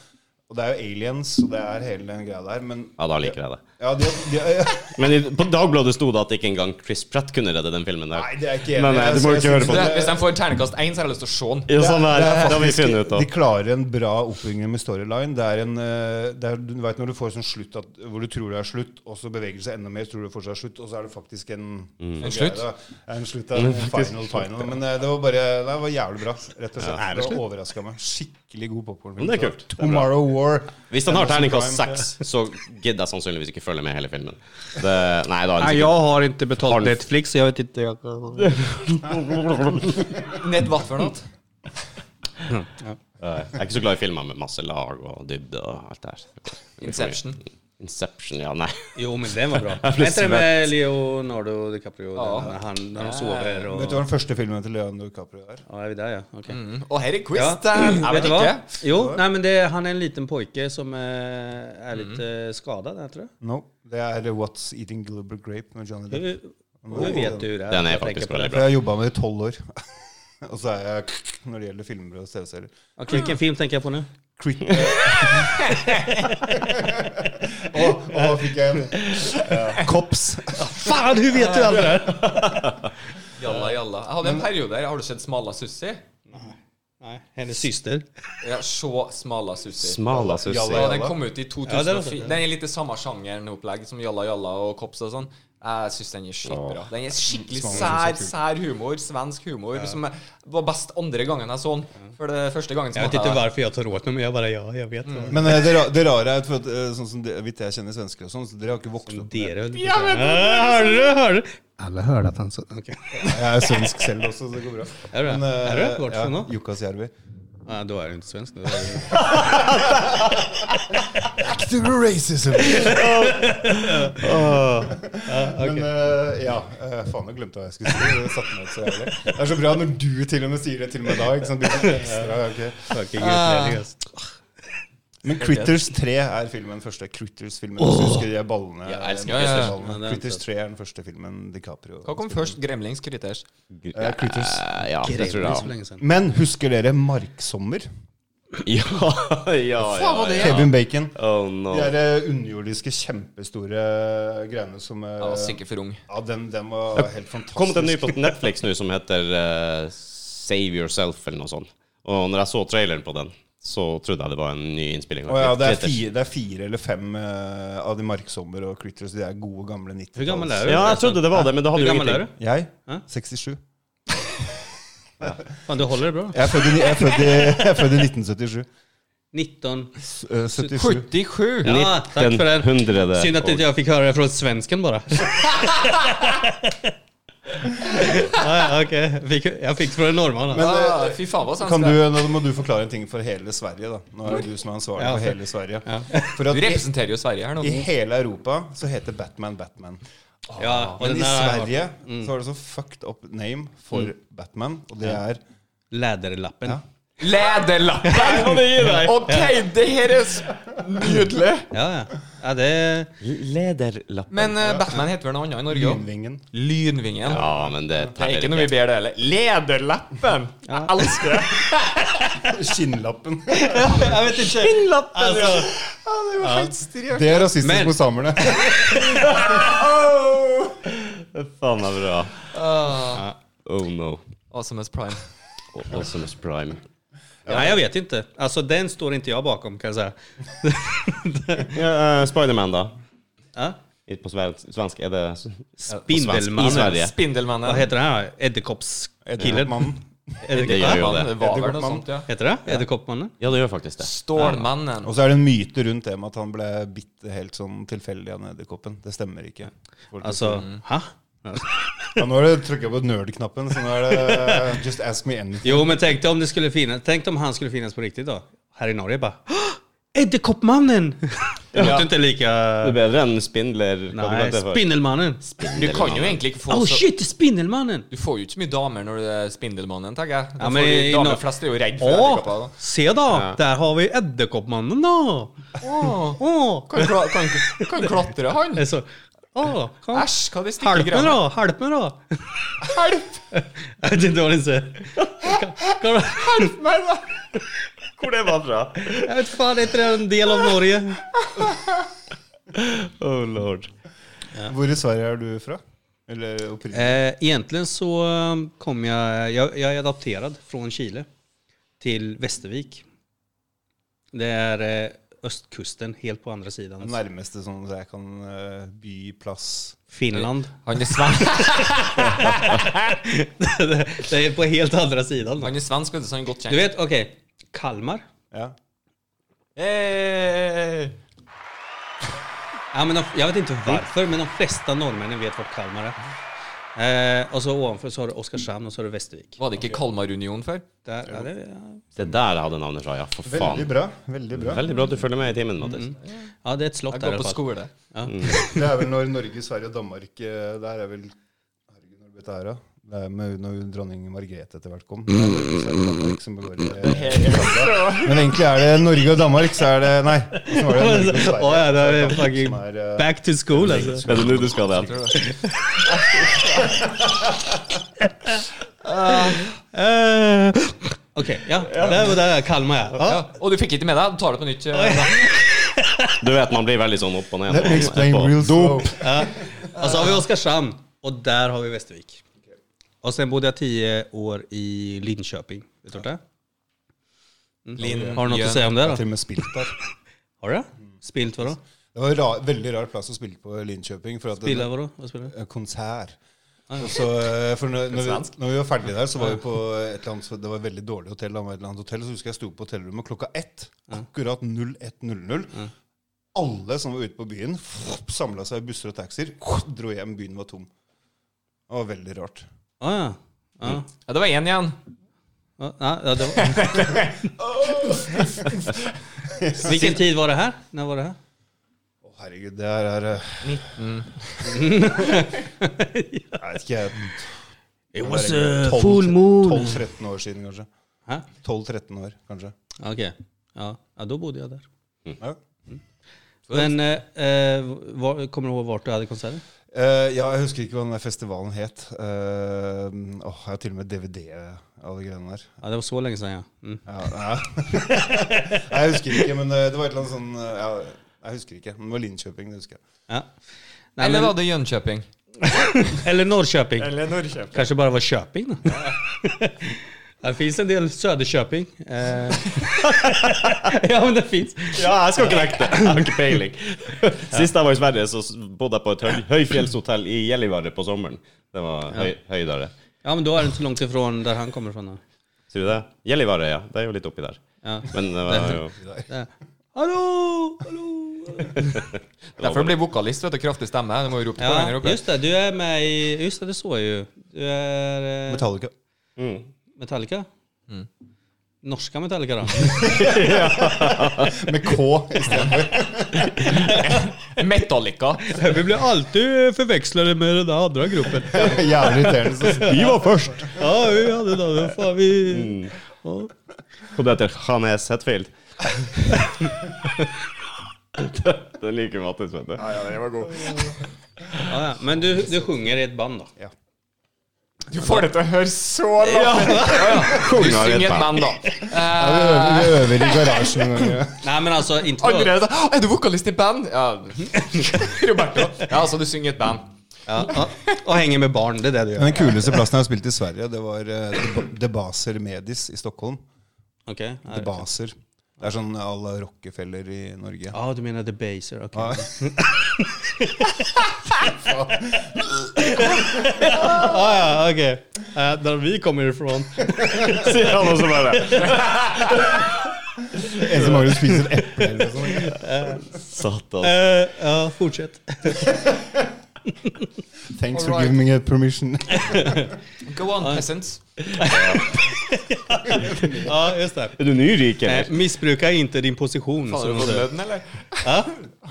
Og det er jo aliens, og det er hele den greia der, men
Ja, da liker jeg det.
ja, de, de, ja.
Men i, på Dagbladet sto det at ikke engang Chris Pratt kunne redde den filmen der.
Nei, det er ikke Altså,
Nei, nei, du må ikke høre på
Det- Hvis de får terningkast én, så har jeg lyst til å se den.
Ja, sånn er, det,
er
har vi
faktisk-
funnet ut
De
av.
klarer en bra oppbygging med storyline. Det er en, eh, det er, du vet når du får sånn slutt at, hvor du tror det er slutt, og så beveger det seg enda mer, tror du det fortsatt er slutt, og så er det faktisk en
Mm.
En slutt?
Ja, En slutt er en final, final. Men eh, det var bare det var jævlig bra, rett og slett.
Ja, er det
det
slutt?
overraska meg. Skikkelig god popkorn.
Men det er kult. Det er bra.
Tomorrow War.
Hvis han har
Amazon
terningkast
Prime.
seks, så gidder jeg sannsynligvis ikke følge med hele filmen. Det, nei, da er
Nej,
det
jag har inte betalt
Har du-
Netflix, så jag vet inte. Jag...
Ned hva for noe?
Nei, Eh, Jeg er ikke så glad i filmer med masse lag og dybde og alt det her.
Inception.
Inception, ja. Nei.
Jo, men den var bra.
blev
Vänta den med Leonardo DiCaprio,
Ja.
den, när, han, när de sover
Vet du hva
och...
den første filmen til Leonardo DiCaprio er?
Ja, är vi där ja. Okej.
Mm. Og her er quiz.
Ja.
der. Jeg
Vet
vet
du hva?
ikke.
Jo, nej, men det, han är en liten pojke som eh, är lite skadad, jag tror jag.
No. Det er What's Eating Gilbert Grape med Johnny Depp.
Hur, hur vet du hur det är?
Den är
Jag tänker
faktiskt
på det.
väldigt
For jeg har jobba med det i tolv år. Og så er jeg når det gjelder filmer og TV-serier.
Okej, vilken film tänker jeg på nu?
Crit Å, å, fikk jeg en. Kops.
Fan, hur vet du allt det där?
Jalla, jalla. Jeg hadde en periode her. Har du sett Smala Sussi?
Nei, hennes syster.
Ja, se Smala Sussi.
Smala sussi.
Ja, den kom ut i
Ja, den har sett
2004.
den.
Den er litt det samme sjangeren opplegg som Jalla Jalla og Kops og sånn. Jeg syns den er skitbra. Den er skikkelig
Smaken
sær,
er så
sær humor. Svensk humor som var best andre gangen jeg så den. For det første gangen
Jeg vet
smakte
ikke hvorfor jeg tar åt meg, men jeg bare ja, jeg vet. hva.
Men eh, det, ra- det rare er for at, eh, sånn som det, vidt jeg kjenner svensker og sånn, så dere har ikke vokst opp med
Dere ja, Hører du, hører du? Alle hører at han så okay.
Jeg er svensk selv også, så det går bra.
Er du det?
eh,
Er du det? Hvor er du fra nå?
Jukkasjärvi.
Nei, da er du ikke svensk. Da er du-
Active racism! Men eh, ja eh, Faen, jeg glemte hva jeg skulle si. Det satte meg ut så jævlig. Det er så bra når du til og med sier det til meg da. Ikke sant? Det blir ekstra, ok.
Fucking utlending, ass.
Men Critters 3 er filmen den første. Critters-filmen. Hvis du husker de ballene?
Jeg elsker
de
Critters.
ballene.
Ja, det er
Critters 3 er den første filmen DiCaprio
Hva kom først? Gremlings Krytters?
Eh, Critters.
Eh, Ja, det tror
Grevling så
jeg.
lenge siden.
Men husker dere Marksommer?
Ja, ja, ja. ja.
Kevin Bacon.
Oh no.
De der eh, underjordiske, kjempestore greiene som eh,
Jeg var sikkert for ung.
Ja, den, den var helt fantastisk.
kommet en ny på Netflix nå som heter eh, Save Yourself eller noe sånt. Og når jeg så traileren på den, så trodde jeg det var en ny innspilling. av
Å ja, det er,
Critters.
fire, det er fire eller fem eh, av de Marksommer og Critters. De er gode, gamle 90
Hvor gammel er du?
Ja, jeg trodde det var det, men det
Hvor
hadde jo
gammel er
ingenting.
du?
Jeg?
Hæ?
67.
Faen, du holder det bra.
Jeg er født i, jeg er født i, jeg er født i 1977.
19.
S- eh, 77.
77!
Ah,
Ja, takk for den.
1900
Synd at ikke jeg fikk høre det fra svensken, bare. ja, ja, ok. Fikk, jeg fikk det fra en nordmann. da.
Men,
Ah, fy faen, hva
Kan
svensk
du,
er.
nå må du forklare en ting for hele Sverige, da. Nå er det du som er ansvarlig
Ja,
for
for-
hele Sverige.
Ja.
For at
Du
i,
representerer jo Sverige her nå.
i hele Europa så heter Batman Batman.
Ja, og
Men
den mm.
i
der-
Sverige så har det så fucked up name for Batman, og det er
Læderlappen.
Ja.
Lederlappen! OK, det her er s- nydelig!
Ja, ja. ja det
Lederlappen.
Men eh, Batman heter vel noe annet i Norge òg?
Lynvingen.
Lynvingen.
Ja, men det
Det er ikke noe vi ber det heller. Lederlappen! Jeg elsker det.
Skinnlappen.
Jeg vet ikke.
Skinnlappen!
Altså,
det var helt striert.
Det er rasistisk
Men-
mot samerne.
Faen meg bra. Oh no.
Awesomeness Prime.
Og Awesomeness Prime.
nei, jeg vet ikke. Altså, den står ikke jeg bakom, kan jeg si.
Ja, eh, Spiderman, da.
Ja?
Ikke På sven- svensk er det s-
Spindelmannen.
I Sverige.
Spindelmannen.
Hva heter den her? Edderkoppskiller?
Edderkoppmannen.
Det gjør jo det.
Mannen, var vel noe
Edderkoppmannen.
sånt, ja.
Heter det? Edderkoppmannen?
Ja, det gjør faktisk det.
Stålmannen.
Og så er det en myte rundt det med at han ble bitt helt sånn tilfeldig av en edderkoppen. Det stemmer ikke. Folk-
Altså, hæ?
Ja, nå har du trykka på nerd-knappen, så nå er det eh, Just ask me anything.
Jo, men tenk deg om det skulle finnes Tenk om han skulle finnes på riktig, da. Her i Norge, bare «Åh, Edderkoppmannen! Det låter ikke like
Det er bedre enn Spindler. Hva du
Nei,
kalte det altså- for?
Spindelmannen.
Du kan jo egentlig ikke få
Oh
så
shit, Spindelmannen!
Du får jo ikke så mye damer når du er Spindelmannen, tenker jeg. Da
Ja,
får
men
du-
i
damer
Nor-
flest er jo redd for edderkopper.
Å,
da.
se da! Der har vi Edderkoppmannen, da!
Åh,
Åh.
Kan, kla- kan, kan klatre, han.
Det er så- Åh, kom.
Æsj, hva er det stikke
Hjelp meg,
greiene?
da! Hjelp meg, da!
Hjelp!
Jeg vet ikke hva den sier. Kan- kan-
Hjelp meg, da!
Hvor det var fra?
Jeg vet faen, er ikke det en del av Norge?
Oh lord.
Hvor i Sverige er du fra? Eller opprinnelig?
Eh, egentligen så um, kom jag, jag, jag är adopterad från Chile till Västervik. Det är eh, östkusten, helt på andra
Den
sidan.
nærmeste sånn så jeg kan eh, by, plass
Finland.
Han er svensk,
det det är på helt andra sidan.
han er svensk vet du, så han er godt
Du
kjent.
vet, okej, Kalmar.
Ja.
Eh, Hey.
Ja, men de, jag vet inte varför, men de flesta norrmännen vet vart Kalmar är. Eh, och så ovanför så har du Oskarshamn och så har du Västervik.
Var det ikke Kalmarunionen før?
Där, ja, det, ja.
Det der jeg hadde navnet fra, ja. For
Veldig
faen. Mm.
bra. Veldig bra.
Veldig bra at du følger med i timen, Mattis.
ja, det är ett slott
Jeg
där i
går på
alla fall.
skole.
Det er vel når Norge, Sverige og Danmark eh, Der er vel Herregud, når ble det her, da? Det er med når dronning Margrethe etter hvert kom. Det er Norge, Sverige og Danmark som begår det. Men egentlig er det Norge og Danmark, så er det Nei. Så var det Norge og Sverige.
Åh, ja, det är fucking
som er, eh,
back to school altså. alltså.
Er det nå du skal det?
Eh, Okej, ja. Det var där Kalmar ja.
Ja.
ja.
Og du fikk ikke med deg? Du tar det på nytt. eh,
Du vet, man blir veldig sånn opp og ned.
Let me explain
Etterpå.
real slow.
Och så Altså, har vi Oskarshamn och där har vi Västervik. Och sen bodde jag tio år i Linköping. Vet du vart det är?
Linn
Har du noe å si om det?
Jeg har
da?
til og med spilt der.
Har du det? Spilt hva da?
Det var en ra veldig rar plass å spille på i Linköping. For at det-
Spille hva da? Hva spiller du?
Eh, konsert. Og så, eh, for når, når, vi, når vi var ferdige der, så var vi på et eller annet, så det var et veldig dårlig hotell. Han var et eller annet hotell, Så husker jeg jeg sto på hotellrommet klokka ett. Akkurat 01.00. Alle som var ute på byen, samla seg i busser og taxier, dro hjem. Byen var tom. Det var veldig rart.
Å ja. Ja.
Ja, det var én igjen.
Ja, nei, ja, det var. Hvilken tid var det her? Når var det her?
Å, herregud, det her er eh, Jeg vet ikke, jeg.
It
12 12-13 år siden, kanskje.
Hæ?
12-13 år, kanskje.
Ok. Ja. ja, da bodde jeg der.
Ja.
Men eh, eh, hva, kommer du ihåg hvor du hadde konserten?
Eh, ja, jeg husker ikke hva den der festivalen het. Eh, åh, jeg har til og med DVD av de greiene der.
Ja, det var så lenge siden, ja. Mm.
Ja, ja. jeg husker ikke, men eh, det var et eller annet sånn eh, ja, Jeg husker ikke. Men det var Linköping, det husker jeg.
ja. Nei,
Eller
men,
var det Jönköping?
eller Norrköping.
Eller Norrköping.
Kanskje bare var Köping, da. Det fins en del Söderköping. Eh. ja, men det fins.
Ja, jeg skal ikke nekte. Jeg har ikke peiling. Sist jeg var i Sverige, så bodde jeg på et høy, høyfjellshotell i Gällivare på sommeren. Det var høy, høydere.
Ja, men da er det ikke så langt ifra der han kommer fra. da.
Sier du det? Gällivare, ja. Det er jo litt oppi der.
Ja.
Men det var jo
Ja. Hallo! Hallo!
Derfor blir vokalist, vet du. Kraftig stemme. Du må jo rope på
Ja,
hverandre oppe.
just det. Du er med i Just det, det så jeg jo. Du er eh,
Metallica.
mm.
Metallica? Mm. Norska Metallica, da?
Med K istedenfor.
Metallica.
Vi blir alltid eh, forvekslet med den andre gruppen.
Jævlig irriterende. Så.
Vi var først!
Ja, vi hadde da, da faen vi... Ja.
Og det heter Hannes Hetfield. Den liker Mattis, vet du.
Ja, ja, det var god.
Ja, ja. Men du, du synger i et band, da?
Ja.
Du får det til å høre så langt
Ja.
Du
av
synger
et
et band, da.
Vi
Eh,
øver, vi øver i garasjen noen ganger.
Nei, men altså ikke
Andre er sånn Er du vokalist i band? Ja. Roberto. Ja, altså, du synger i et band.
ja, ja. Og henger med barn, det er det du gjør.
Den kuleste plassen jeg har spilt i Sverige, det var eh, Deb- Debaser Medis i Stockholm.
Ok. Ja,
Debaser. Det er sånn à la Rockefeller i Norge.
Ah, du mener The Baser. Ok.
Ja.
Ah, ja, ok. Eh, der vi kommer ifra.
Sier han også bare.
En som mangler å spise et eple eller noe sånt.
Satan.
Eh, ja, fortsett.
Thanks
Alright.
for giving me permission.
Go on, peasants.
Ja, just det.
Er du nyrik,
Eh,
eller?
missbruka inte din position.
Faen,
som
har du
de
fått
säger.
lønn, eller?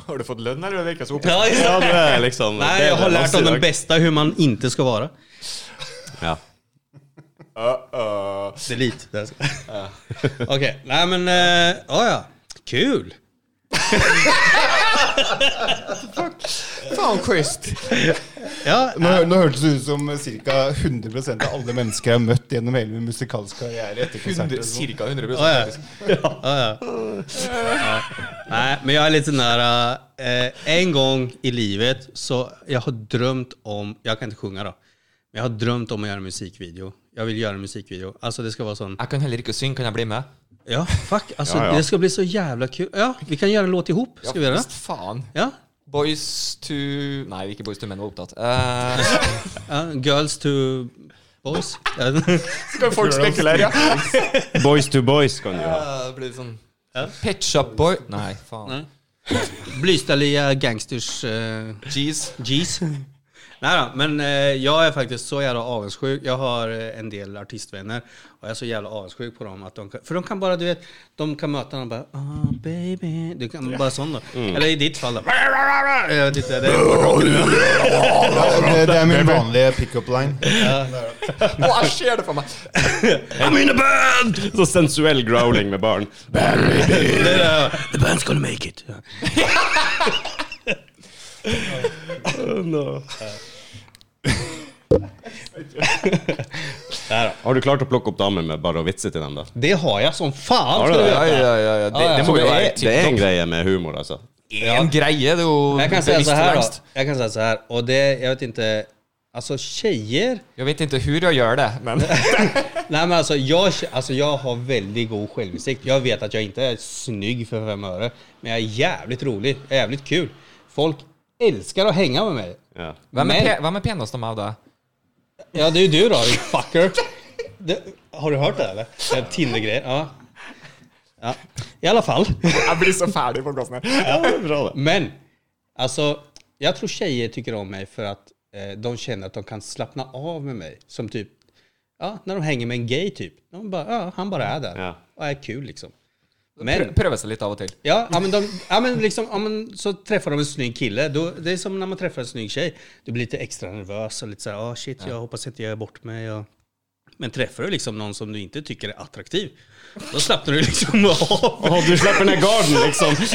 Har du fått lønn, eller? Det virker så opp.
Ja, just
Ja,
det.
du er liksom
Nej,
det er
jag har
det
lärt
masse i
om den
dag.
bästa hur man inte ska vara.
Ja.
Uh-oh.
Delete. Där ska- Okej, nej men, eh, ja ja. Kul!
Faen, Christ.
Ja,
Nå, nå hørtes det ut som ca. 100 av alle mennesker jeg har møtt gjennom hele min musikalske karriere. etter konserter. og sånt.
Cirka 100
ja, ja.
faktisk.
ja, ja. Ja. Nej, men jag är lite nära. Eh, en gång i livet så jag har drömt om, jag kan inte sjunga då, men jag har drömt om att göra en musikvideo. Jag vill göra en musikvideo. Alltså det ska vara sån
Jeg kan heller ikke synge. Kan jeg bli med?
Ja, fuck. Alltså,
Ja, ja.
Det ska bli så jävla kul. Ja, vi kan göra en låt ihop. Ska vi göra det?
Visst faen.
Ja.
Boys to Nei, ikke Boys to Men var opptatt. Eh,
ja. Girls to boys. Ja.
Skal folk spekulere? Ja.
Boys to boys kan du ha.
Eh, blir det sånn Pitch up boy Nei, faen.
Nei. Blyställiga gangsters eh,
Jeez.
G's. Nej då, men eh, jag är faktiskt så jävla avundsjuk. Jag har eh, en del artistvänner och jag är så jävla avundsjuk på dem. Att de kan, för de kan bara, du vet, de kan möta dem och bara ah baby. Du kan bara sån då.
Mm.
Eller i ditt fall då. Jag vet inte, det är,
Det, det er min vanlige pickup line.
Å, jeg ser det for meg.
I'm in a band! Så sensuell growling med barn.
det är, the band's gonna make it. Ja.
Har du klart å plukke opp damer med bare å vitse til dem, da?
Det har jag som fan.
Har du
ska du
det?
veta.
Ja, ja, ja, ja. Det, det må jo være
Det er en greie med humor, altså.
en greie. Det er jo
Jeg kan
det
säga så
visste
här då.
lengst.
Jag kan säga så här. Och det, jag vet inte. Alltså tjejer
Jag vet inte hur jag gör det, men
Nej men alltså jag, alltså jag har väldigt god självinsikt. Jag vet att jag inte är snygg för fem öre. Men jag är jävligt rolig, jag är jävligt kul. Folk älskar att hänga med mig.
Ja.
Hvem er,
Men-
pe hvem er penest av meg, da?
Ja det är ju du då, din fucker. Det, har du hört det eller? Det är Tinder-grejen. Ja. ja. I alla fall.
Jeg blir så ferdig på plassen her.
Ja, det er bra, det.
Men alltså jag tror tjejer tycker om mig för att eh, de känner att de kan slappna av med mig. Som typ, ja när de hänger med en gay typ. De bara, ja, han bara är där
Ja.
och är kul liksom. Men
Prø prøve seg litt av og til.
Ja, ja, men, de, ja, men, liksom, ja, men så träffar de en snygg kille. Då, det är som när man träffar en snygg tjej. Du blir lite extra nervös och lite så här, ah shit, jag hoppas inte jag gör bort mig. Och... Men träffar du liksom någon som du inte tycker är attraktiv, då slappnar du liksom av.
Å, du slipper ned garden, liksom.
Du,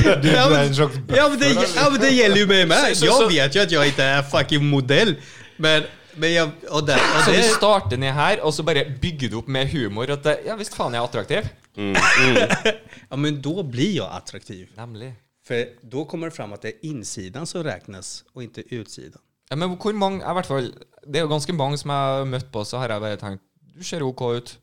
Ja,
du
men-
er en slags
Ja men, det, ja, men det gäller ju mig med.
Så- så- så-
Jag vet ju att jag inte är fucking modell. Men, men jeg, och där, och
Så du
det,
starter ned her, og så bare bygger du opp med humor at det- Ja visst faen jeg er attraktiv.
ja, men då blir jag attraktiv.
Nemlig.
För då kommer det fram att det är insidan som räknas och inte utsidan.
Ja, men hvor mange jeg, i hvert fall, Det er jo ganske mange som jeg har møtt på, så har jeg bare tenkt Du ser OK ut.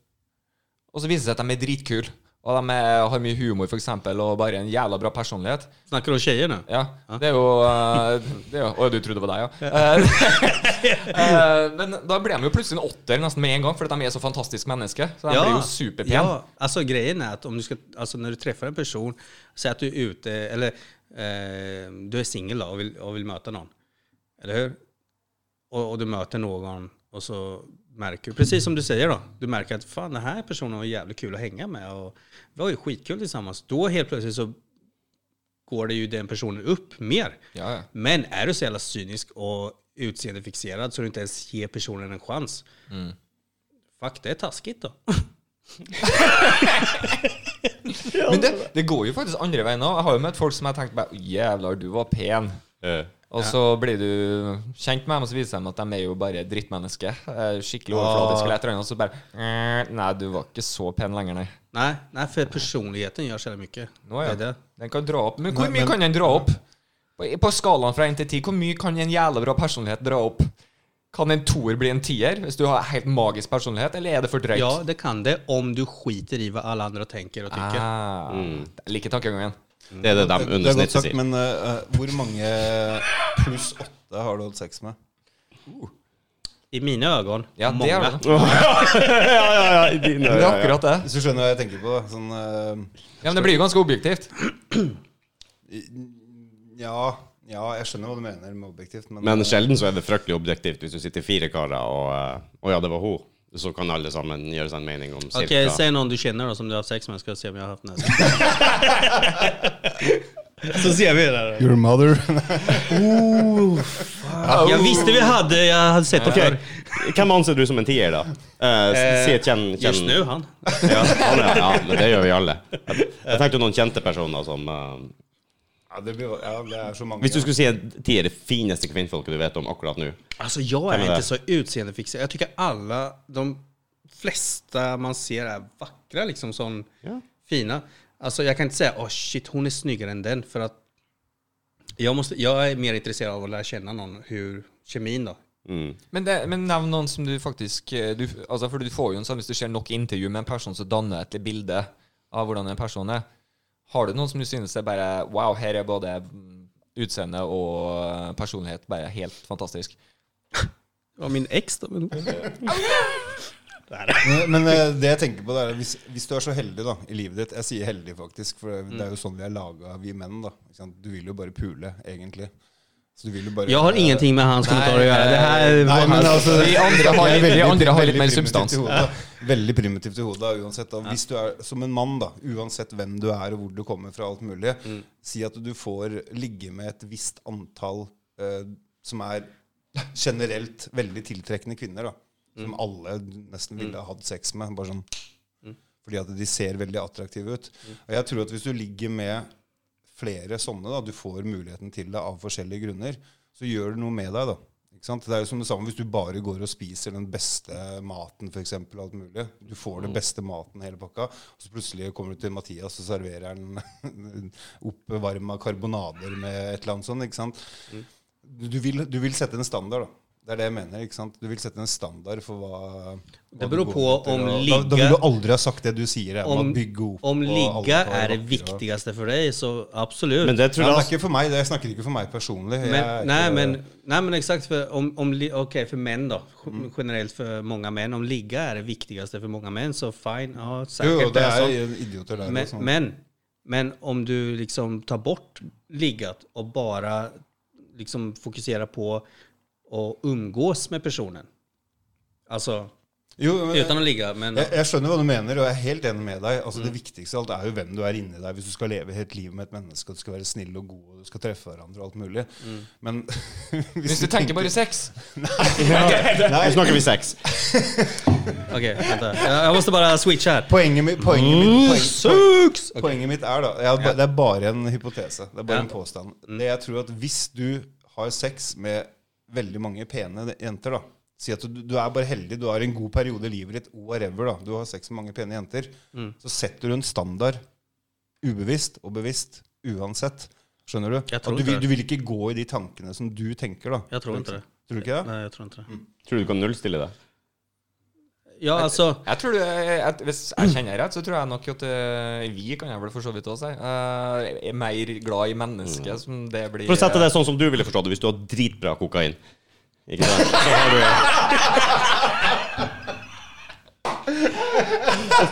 Og så viser det seg at de er dritkule. Og de er, har mye humor, f.eks., og bare en jævla bra personlighet.
Snackar du om tjejer nu?
Ja, det er jo eh, det er jo, Å, du trodde det var deg, ja. Eh, men da ble de jo plutselig en åtter nesten med en gang, fordi de er så fantastiske mennesker. Så de blir jo superpene.
Ja, Altså, alltså grejen är att om du ska, alltså när du träffar en person, säg att du är ute, eller eh, du är singel då och vill, och vill möta någon, eller hur? Och, och du möter någon och så märker du, precis som du säger då, du märker att fan den här personen var jävligt kul att hänga med och vi har ju skitkul tillsammans. Då helt plötsligt så går det ju den personen upp mer.
Ja, ja.
Men är du så jävla cynisk och utseendefixerad så du inte ens ger personen en chans,
Mm.
fuck det är taskigt då.
Men det, det går jo faktisk andre veien òg. Jeg har jo møtt folk som har tenkt bare Jævlar, du var pen.
Eh,
Og så blir du kjent med dem, og så viser det seg at de er jo bare drittmennesker. Eh, Skikkelig overfladiske eller et eller annet, og så bare "Eh, Nei, du var ikke så pen lenger, nei.
Nej, nej, för personligheten gör så jävla mycket.
Nå,
Det
ja.
är det.
Den kan dra opp. Men hvor
Men-
mye
men-
kan den dra opp? På, på skalaen fra 1 til 10, hvor mye kan en jævla bra personlighet dra opp? Kan en toer bli en tier hvis du har helt magisk personlighet, eller er det for drøyt?
Ja, det kan det om du skiter i vad alla andra tänker og tycker.
ah, Liker tankegangen.
Det er det de
Det
under
er godt
snittet
sagt,
sier.
men eh, eh, hvor mange pluss åtte har du hatt sex med?
I mina ögon,
Ja, det
många.
er det.
Ja, ja, ja, i dine
Det er
øyne, ja.
akkurat det.
Hvis du skjønner hva jeg tenker på? da. Sånn eh,
Ja, men det blir jo ganske objektivt.
ja, ja, jeg skjønner hva du mener med objektivt, men, eh,
Men sjelden så er det fryktelig objektivt hvis du sitter fire karer og eh, Å ja, det var hun. Så kan alle sammen gjøre seg en mening om cirka
Okej, säg någon du känner då som du har haft sex med, ska jag se om jag har haft den här. så ser vi det där.
Your mother
Jag visste vi hade, jag hade sett det
Ok,
Mm.
förr.
Hvem anser du som en tier, da? Eh, s- si et kjenn... kjenn-
Just nu, han.
Ja, han er, ja, men det gjør vi alle. Jeg, jeg tenkte noen kjente personer som eh,
ja, det, blir, ja, det er så mange.
Hvis du skulle si en tier det fineste kvinnfolket du vet om akkurat nå
Alltså jag är
Kan det?
inte så utseendefixerad. Jag tycker alla, de flesta man ser är vackra liksom, sån
Ja.
fina. Alltså jag kan inte säga åh shit, hon är snyggare än den för att jag, måste, jag är mer intresserad av att lära känna någon, hur kemin då.
Men, det, men nevn noen som du faktisk eh, du, altså For du får jo en sånn hvis du ser nok intervju med en person, så danner et bilde av hvordan en person er. Har du noen som du synes er bare Wow, her er både mm, utseende og eh, personlighet bare helt fantastisk.
Ja, min ex då. Men...
Men, men eh, det jeg tenker på det er at hvis, hvis du er så heldig da, i livet ditt Jeg sier heldig, faktisk, for det, det er jo sånn vi er laga, vi menn. da ikke sant? Du vil jo bare pule, egentlig. Så du vil jo bare
Jag har ingenting med hans kommentarer att göra. Det här
Nei,
var
men
hans.
altså,
Vi andre har
jeg er
litt- vi
veldig-
andre har litt
veldig
mer
primitivt
substans.
i hodet, da. Veldig primitivt i hodet da, uansett. Da. Hvis du er som en mann, da, uansett hvem du er og hvor du kommer fra, alt mulig,
Mm.
si at du får ligge med et visst antall eh, som er generelt veldig tiltrekkende kvinner, da. Som
Mm.
alle nesten ville ha hatt sex med. Bare sånn fordi at de ser veldig attraktive ut.
Mm.
Og jeg tror at hvis du ligger med flere sånne, da, du får muligheten til det av forskjellige grunner, så gjør det noe med deg, da. Ikke sant? Det er jo som det samme hvis du bare går og spiser den beste maten, f.eks. Alt mulig. Du får
Mm.
den beste maten hele pakka, og så plutselig kommer du til Mathias og
Mm.
serverer han oppvarma karbonader med et eller annet sånt. Ikke sant? du vil, du vil sette en standard, da. Det er det jeg mener. ikke sant? Du vil sette en standard for hva hva
Det
du
beror
går
på
etter,
om
og da, da
ligge-
vil du aldri ha sagt det du sier. Om,
Om,
å bygge opp
om
og
ligga
alter og
er det
vakker og-
viktigste for deg, så absolutt.
Men det tror
Ja,
jeg
det er
altså
ikke for meg. Det, jeg snakker ikke for meg personlig. Jeg er
Men,
ikke-
nej, men, nej, men exakt. För, om, om, li- okej, för män då. Generellt för många män. Om ligga är det viktigaste för många män så fine. Ja, säkert.
jo, jo, det
det är
er
sånt.
idioter der.
men,
og sånn.
men, men om du liksom tar bort liggat och bara liksom fokuserar på att umgås med personen. Alltså,
jo, men,
utan att ligga. Men,
Jeg, jeg skjønner hva du mener, og jeg er helt enig med deg. Altså, Det viktigste av alt er jo hvem du er inni deg. Hvis du skal leve helt livet med et menneske, og du skal være snill og god, og du skal treffe hverandre og alt mulig. Men
Hvis du tenker bare sex
Nå snakker vi sex.
Okej, vänta. Jag jag måste bara switcha här.
Poenget mitt, poenget mitt, poenget,
Mm. Sucks!
poenget, mitt er da jeg, har ba- Det er bare en hypotese. Det er bare
Ja. Mm.
en påstand. Det jeg tror at Hvis du har sex med veldig mange pene jenter da Si at du, du er bare heldig, du har en god periode i livet ditt, whatever, da. Du har sex med mange pene jenter.
Mm.
Så setter du en standard ubevisst og bevisst uansett. Skjønner du?
Jeg tror
At du,
ikke
vil,
det.
du vil ikke gå i de tankene som du tenker, da.
Jag tror inte det.
Tror du ikke det?
Nej, jag tror inte det.
Tror du du kan nullstille det?
Ja, alltså.
Jeg tror du, eh, at Hvis jeg kjenner rett, så tror jeg nok at eh, vi kan jeg vel for så vidt også si, eh, er mer glad i
Mm.
mennesket som det blir eh,
For å sette det sånn som du ville forstå det, hvis du har dritbra kokain Ikke sant? Så har du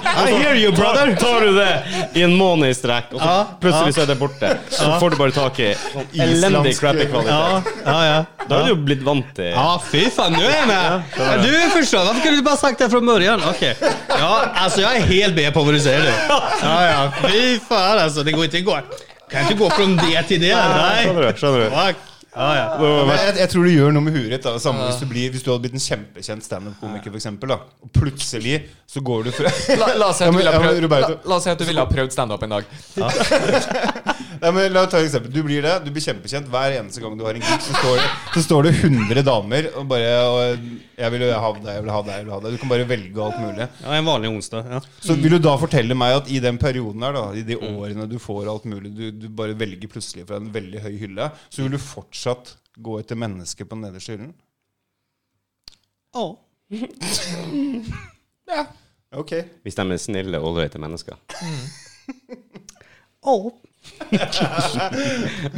I hear you, brother! Tar du det i en måned i strekk, og så plutselig så er det borte. Så får du bare tak i sånn elendig
Islandsk-
crappy kvalitet.
Ja, ja, ja.
Da er du jo blitt vant til
Ja, fy fan, nu är jag med! Du förstår, varför kunde du inte bara sagt det från början? Okej. Ja, alltså jag är helt med på vad du säger nu. Ja, ja, fy fan alltså, det går inte att gå. Kan inte gå från det till det. Nej.
Skjønner du? skjønner du
Fuck. Ja, ja.
Nå-
Men jeg, jeg tror det gjør noe med huet ditt. da, Samme hvis, du blir, hvis du hadde blitt en kjempekjent standup-komiker, for eksempel, da, og plutselig så går du fra
La, la oss si
Ja,
at du
men-
ville ha
ja, men
prøvd, la,
Roberto.
la oss si at du ville ha prøvd standup en dag.
Nei, men La meg ta et eksempel. Du blir det, du blir kjempekjent. Hver eneste gang du har en gig, så står det, så står det 100 damer og bare og, 'Jeg vil ha deg, jeg vil ha deg, jeg vil ha deg'. Du kan bare velge alt mulig.
Ja, en vanlig onsdag. Ja.
Så vil du da fortelle meg at i den perioden her, da, i de årene du får alt mulig, du, du bare velger plutselig fra en veldig høy hylle, så vil du fortsatt gå etter mennesket på den nederste hyllen?
Ja.
Ok.
Hvis de er snille og ålreite mennesker.
Ja.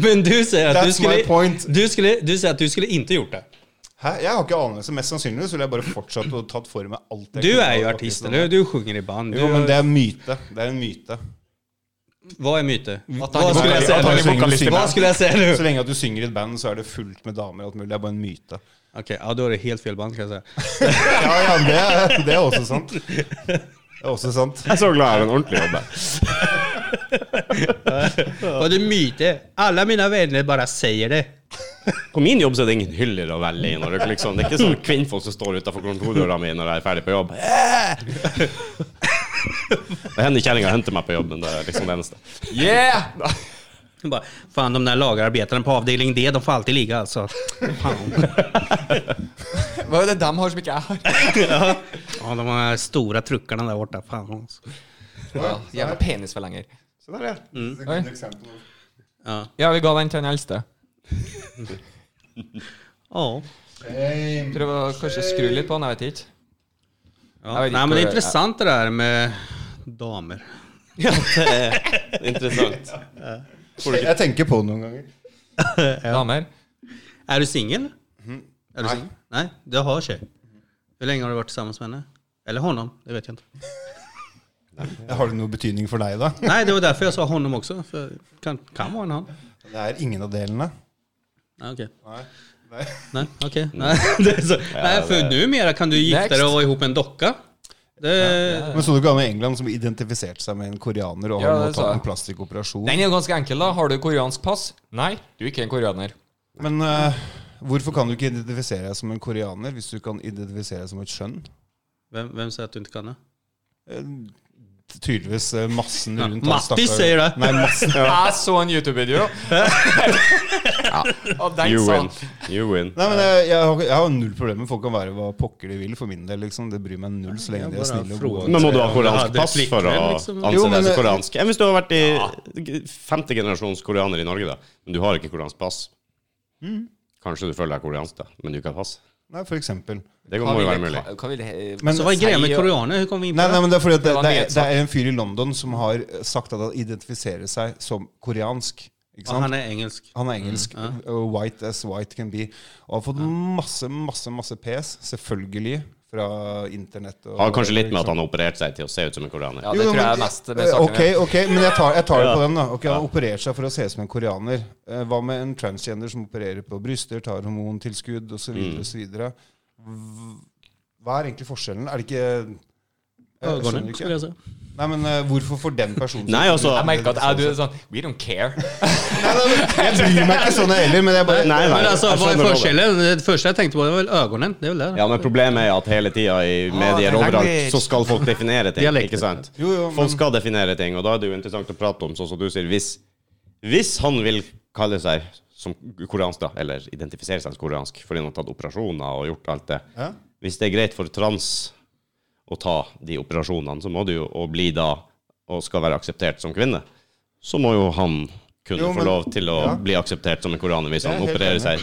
Men du säger att du
That's my
skulle,
point.
du skulle, du säger att du skulle inte gjort det.
Hæ? Jeg har ikke anelse. Mest sannsynligvis ville jeg bare fortsatt og tatt for meg alt jeg
Du
kunne
är ju
av
artist,
artistene.
eller hur? Du sjunger i band.
Jo, men
Du,
det er myte. Det er en myte.
vad är myte?
han
Vad
inte
skulle jag
var-
säga
att han
nu?
inte var vokalist i
Vad skulle jag säga nu?
Så lenge at du synger i et band, så er det fullt med damer og alt mulig. Det er bare en myte.
Okej, ja, då är det helt fel band kan jag säga.
Ja, ja, det er, det er også sant. Det er også sant.
Jeg er så glad jeg har en ordentlig jobb. jeg.
Och det är myter. Alla mina vänner bara säger det.
På min jobb så er det ingen hyller å velge i. Når det, liksom, det er ikke sånn kvinnfolk som står utafor kontordøra mi når jeg er ferdig på jobb. Det hender kjerringa henter meg på jobben. Det er liksom det eneste.
Yeah!
De Bara, Fan, de där lagarbetarna på avdelning D, de får alltid ligga alltså. Fan.
Hva er det de har som ikke jeg har?
Ja, de här stora truckarna där borta. Fan. alltså.
Ja, jævla penisforlenger.
Så der, ja. Det er et godt eksempel.
Ja.
Ja, vi ga den til den eldste.
Ja.
Shame.
Prøv å kanskje skru litt på den, jeg vet ikke.
ja.
Jag
Nej,
vet inte
men det är
vad-
intressant det där med damer.
Ja, det er interessant.
Jeg tenker på det noen ganger.
Damer.
Är du singel? Är du singel? Mm-hmm. Nej, du har tjej. Hur länge har du varit tillsammans med henne? Eller honom, det vet jag inte.
Har det noe betydning for deg, da?
Nej, det var därför jag sa honom också. För det kan, kan vara en han.
Det er ingen av delene.
Ja, okej.
Nei. Nei.
Nej, okej. Nej, det är så. Nej, för
det-
numera kan du gifta dig
Next.
och vara ihop med en docka. Det,
Men så du ikke han i England som identifiserte seg med en koreaner og
Ja,
har nå
det sa
tatt
jeg.
en plastikkoperasjon?
Den er jo ganske enkel, da. Har du koreansk pass? Nei, du er ikke en koreaner.
Men eh, hvorfor kan du ikke identifisere deg som en koreaner hvis du kan identifisere deg som et skjønn? Eh,
Vem, vem säger att du inte kan det?
Tydeligvis eh, massen
Ja,
rundt han
Mattis
stakkar-
säger det.
Nei, massen.
Jeg så en YouTube-video. Og den
You
sa
win.
han.
You win.
Nei, men eh, jeg, jeg, har, jeg har null problem med folk kan være hva pokker de vil for min del. liksom Det bryr meg null så lenge de er snille og gode.
Men må du ha koreansk
Ja,
pass
det er
for å
plikt,
anse
liksom.
Jo,
deg
men
som
det-
koreansk? Enn hvis du har vært
Mm.
i femte generasjons koreaner i Norge, da, men du har ikke koreansk pass? Kanskje du føler deg koreansk, da, men du ikke har pass.
Nei, for eksempel.
Det
Hva
må jo
ville-
være mulig.
hva- eh, Hva ville
Men-
Så hva er greia med
sier-
koreaner? Hvordan kom vi inn på
Nei, nei, men det er fordi at det,
Det var
det, er, det
nyhetssak.
er en fyr i London som har eh, sagt at han identifiserer seg som koreansk. Ikke sant?
Han er engelsk.
Han er engelsk. uh, White as white can be. Og har fått masse, masse masse pes, selvfølgelig, fra internett. Og,
Har kanskje litt med at han har operert seg til å se ut som en koreaner.
Ja, det
Jo,
tror jeg
men-
er mest med
eh,
saken.
Ok, ok, men jeg tar, jeg tar det
Ja.
på den. da Ok, Han har operert seg for å se ut som en koreaner. Eh, Hva med en transgender som opererer på bryster, tar hormontilskudd osv.? Hva er egentlig forskjellen? Er det ikke Jeg
Går
skjønner
ned, skulle
ikke.
jeg si.
Nei, men eh, Hvorfor får den personen
Nei, altså
Jeg
Nei,
merker at jeg, du er sånn We don't care.
Jeg bryr meg ikke sånn jeg heller, men jeg bare
nei.
Men altså,
jeg
hva er
skjønner hva det-
forskjellen? Det første jeg tenkte på, det var vel øynene. Det er vel det. da.
Ja, men problemet er at hele tida i medier
det er
overalt
language.
så skal folk definere ting,
Dialekt.
ikke sant?
Jo, jo, men-
Folk skal definere ting, og da er det jo interessant å prate om, sånn som du sier, hvis, hvis han vil kalle seg som koreansk, da, eller identifisere seg som koreansk fordi han har tatt operasjoner og gjort alt det
Ja.
Hvis det er greit for trans å ta de operasjonene, så må du jo og bli da og skal være akseptert som kvinne, så må jo han kunne
Jo, men-
få lov til å
ja.
bli akseptert som en koreaner hvis
Det er
han
helt
opererer
enig.
seg.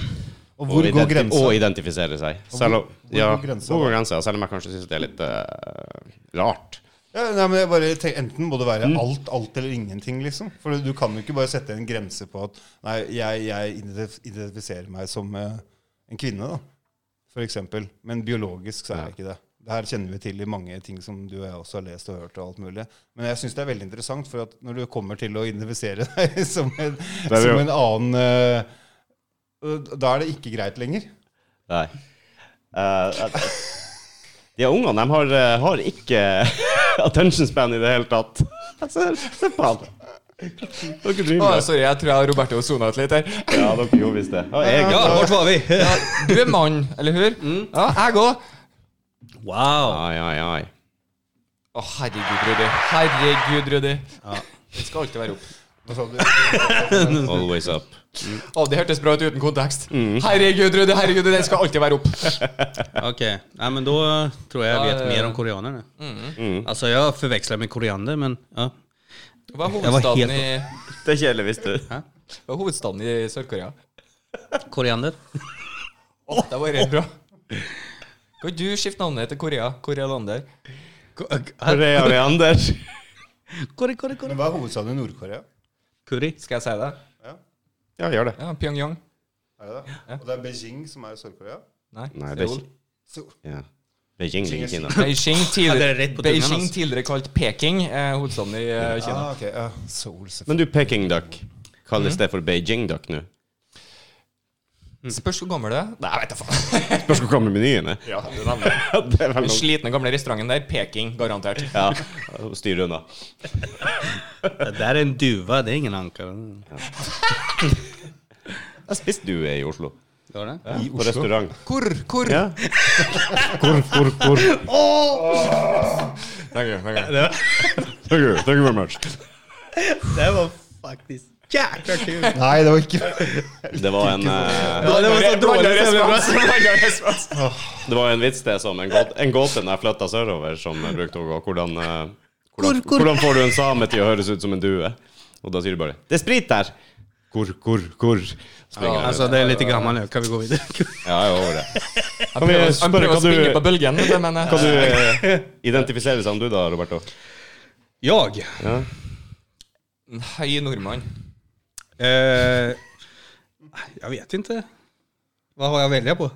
Og hvor går
identi-
grensa?
Og identifisere seg. Selv om,
hvor
ja,
går grensa,
hvor
da?
går grensa? Selv om jeg kanskje syns det er litt eh, rart.
Ja, nei, men jeg bare tenker, Enten må det være alt, alt eller ingenting, liksom. For du kan jo ikke bare sette en grense på at Nei, jeg, jeg identif- identifiserer meg som eh, en kvinne, da. For eksempel. Men biologisk så er jeg ikke det. Det her kjenner vi til i mange ting som du og jeg også har lest og hørt. og alt mulig. Men jeg syns det er veldig interessant, for at når du kommer til å identifisere deg som en,
er jo-
som en annen eh, Da er det ikke greit lenger.
Nei. Eh, eh, de her ungene, de har, eh, har ikke attention span i det hele tatt. Se, se på han. Dere
Å,
driver med
sorry, jeg tror jeg og Roberto sona ut litt her.
Ja, dere gjorde visst det. Og jeg,
Ja, hvor var vi? Ja, du er mann, eller hur? Ja, jeg òg.
Wow.
Ai, ai, ai.
Å, herregud, Rudi. Herregud, Rudi. Det skal alltid være opp.
Hva sa du?
Always up.
Å, det hørtes bra ut uten kontekst.
Mm.
Herregud, Rudi. Herregud, det skal alltid være opp.
Ok. Nei, men da tror jeg jeg
Ja,
vet
ja, ja.
mer om koreanerne. Altså, jeg forveksler med koreaner, men ja.
Hva er
Jeg var helt-
hovedstaden i,
Det er kjedelig, visste du.
hva er hovedstaden i Sør-Korea?
Koreaner.
Å, det var rett bra. Kan du skifte navnet til Korea? Korea Lander.
Korea Leander.
Kori, kori, kori.
Men hva er hovedstaden i Nord-Korea?
Kuri.
Skal jeg si det?
Ja,
Ja, gjør det.
Ja, Pyongyang.
er det det? Og det er Beijing som er i Sør-Korea?
Nei,
Nei, det er
Seoul.
ikke
Så-
ja. Beijing ligger i Kina.
Beijing,
Ja, det
tidligere,
er rett på tungen,
Beijing
altså.
tidligere kalt Peking, eh, hovedstaden i eh, Kina.
Ah, ok, ja. Seoul, selvfølgelig.
Men du, Peking Duck, kalles det for Beijing Duck nå?
Mm.
Spørs hvor gammel det er. Nei, jeg vet da faen.
Spørs hvor gamle menyen er.
Ja, det nevner jeg.
Det er vel
Den
noe.
slitne gamle restauranten der, Peking, garantert.
Ja, styr unna.
Det der er en duva, det er ingen anker.
Jeg spiste du eh, i Oslo.
Gjør det?
I På restaurant.
Hvor, hvor?
Ja. Hvor, hvor, hvor.
Thank you, thank you.
Thank you, thank you very much.
Det var faktisk jækla kult.
Nei, det var ikke
Det var en, eh,
Ja, det var så dårlig
respons. Blanda respons.
det var en vits det som en gåte, en gåte når jeg flytta sørover, som jeg brukte å gå. Hvordan, eh, hvordan,
Hvor, hvor?
hvordan får du en same til å høres ut som en due? Og da sier du bare 'Det er sprit der'. Hvor, hvor, hvor? Springer jeg
Altså,
rundt.
det er litt gammel nå. Kan vi gå videre?
Ja, jeg er over det.
Han prøver å- han
spørre,
prøver å
kan du-
springe på bølgen, vet du, men eh,
Kan du eh, identifisere som du, da, Roberto?
Jag?
Ja.
en høy nordmann.
Eh, jag vet inte. Vad har jag att välja på?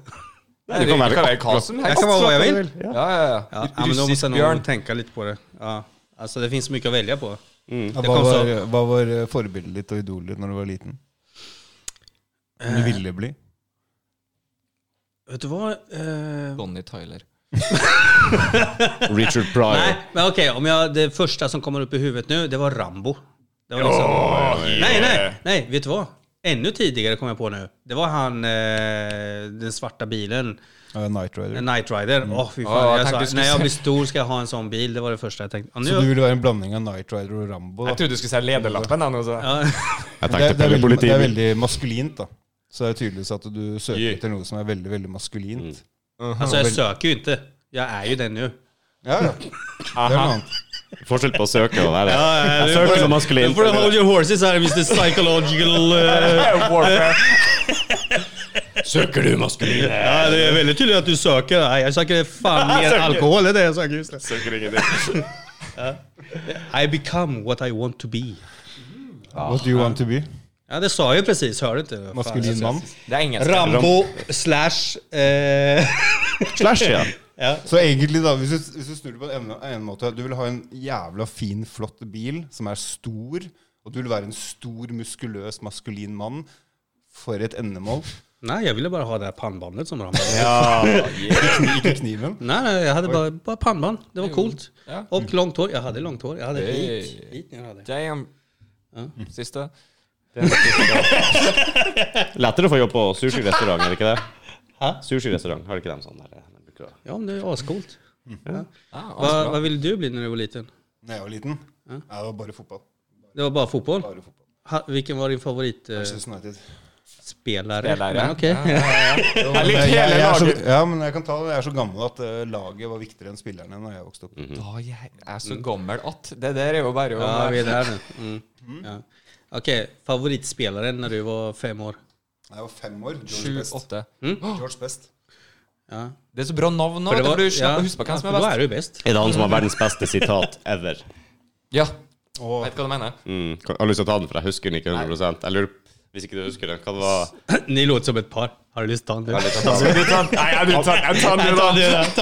Nei, du kan være
hva som
Jag kan vara vad jag
akkurat
vill.
Ja, ja, ja.
Ja, ja, men då måste
Russisk
jag
bjørn.
nog tänka lite på det. Ja, alltså det finns mycket att välja på.
hva,
kom
var,
så-
hva var eh, forbildet ditt og idolet ditt når du var liten?
Eh.
Om du ville bli?
Vet du vad? Eh,
Bonnie Tyler.
Richard Pryor.
nej, men okej. om jag, det första som kommer upp i huvudet nu, det var Rambo. Det var liksom, nej, nej, nej. Vet du vad? Ännu tidigare kom jag på nu. Det var han, eh, den svarta bilen.
Uh, Night Rider.
Knight Rider. Åh, fy fan.
Ja, jag
jag
tänkte du
sa,
skulle
när jag
säga-
blir stor ska jag ha en sån bil. Det var det första jag tänkte. Ja, nu-
Så du ville være en blanding av Night Rider og Rambo?
Jeg
Da.
trodde du skulle si lederlappen. jeg, nå, så.
ja.
Jeg
Det, er,
tenkte
det, er
Pelle
veldig, det er
Politibil.
veldig maskulint, da. Så det er tydeligvis at du søker
Yeah.
etter noe som er veldig veldig
Mm.
maskulint.
Alltså jag söker ju inte. Jag är ju den nu.
Ja, ja. Det er noe annet.
Forskjell på å søke og være. Jeg søker som maskulin.
får du hold your horses her, Mr. Psychological eh.
Warfare.
Søker du maskuline?
Ja, det er veldig tydelig at du søker. Nei, jeg søker faen
Jeg
mer
søker.
alkohol enn det jeg søker. Just.
Søker ingenting.
I become what I want to be.
What do you want to be?
Ja, det sa jeg jo precis, hör du inte? Vad fan,
Maskulin
jag sa-
mann?
Det er engelsk.
Rambo slash eh,
Slash, ja.
ja.
Så egentlig, da, hvis du, hvis du snur det på en, en måte Du vil ha en jævla fin, flott bil som er stor, og du vil være en stor, muskuløs, maskulin mann. For et endemål.
Nej, jag ville bara ha det här pannbandet som Rambo.
Ikke kniven.
Nej, nej, jag hade bara, bara pannband. Det var coolt.
Ja.
Och långt hår. Jag hade långt hår. Jag hade
Hey.
hit. hit jag hade.
Damn. Siste.
Lettere å få jobb på sushirestaurant, er det ikke det?
Hæ?
Sushirestaurant, har ikke de sånn der? de bruker å-
Ja, men det är ascoolt.
Ah,
Va,
altså bra.
vad ville du bli när du var liten?
Da jeg var liten. Nei, det var bare fotball.
Det var bara fotboll?
Bare fotball. sånn
Ha, vilken var din favoritspelare? Eh,
Manchester United.
spelare?
Spelare.
Men Okej.
Jeg
Men
likte
jeg, jeg,
hele
er så,
laget.
ja, men jeg kan ta det. Jeg er så gammel at eh, laget var viktigere enn spillerne da jeg vokste opp.
Da jeg er så gammel at Det der er jo bare å
Ja, vi är där nu. Mm. Ja. Okej, favoritspelaren når du var fem år?
Da jeg var fem år. George Best.
Sju-åtte.
George Best.
Ja.
Det er så bra navn nå.
For det
da
var-
får du
ja,
slapp- huske på hvem som
for
er
Da
best.
er du best.
Er det han som har verdens beste sitat ever?
Ja,
Og
vet hva du mener.
Mm. Jeg har lyst til å ta den, for jeg husker den ikke 100 Jeg lurer på- hvis ikke du husker den, hva det var
Ni låter som et par. Har du lyst til å ta den?
Nei, jeg tar den,
Ta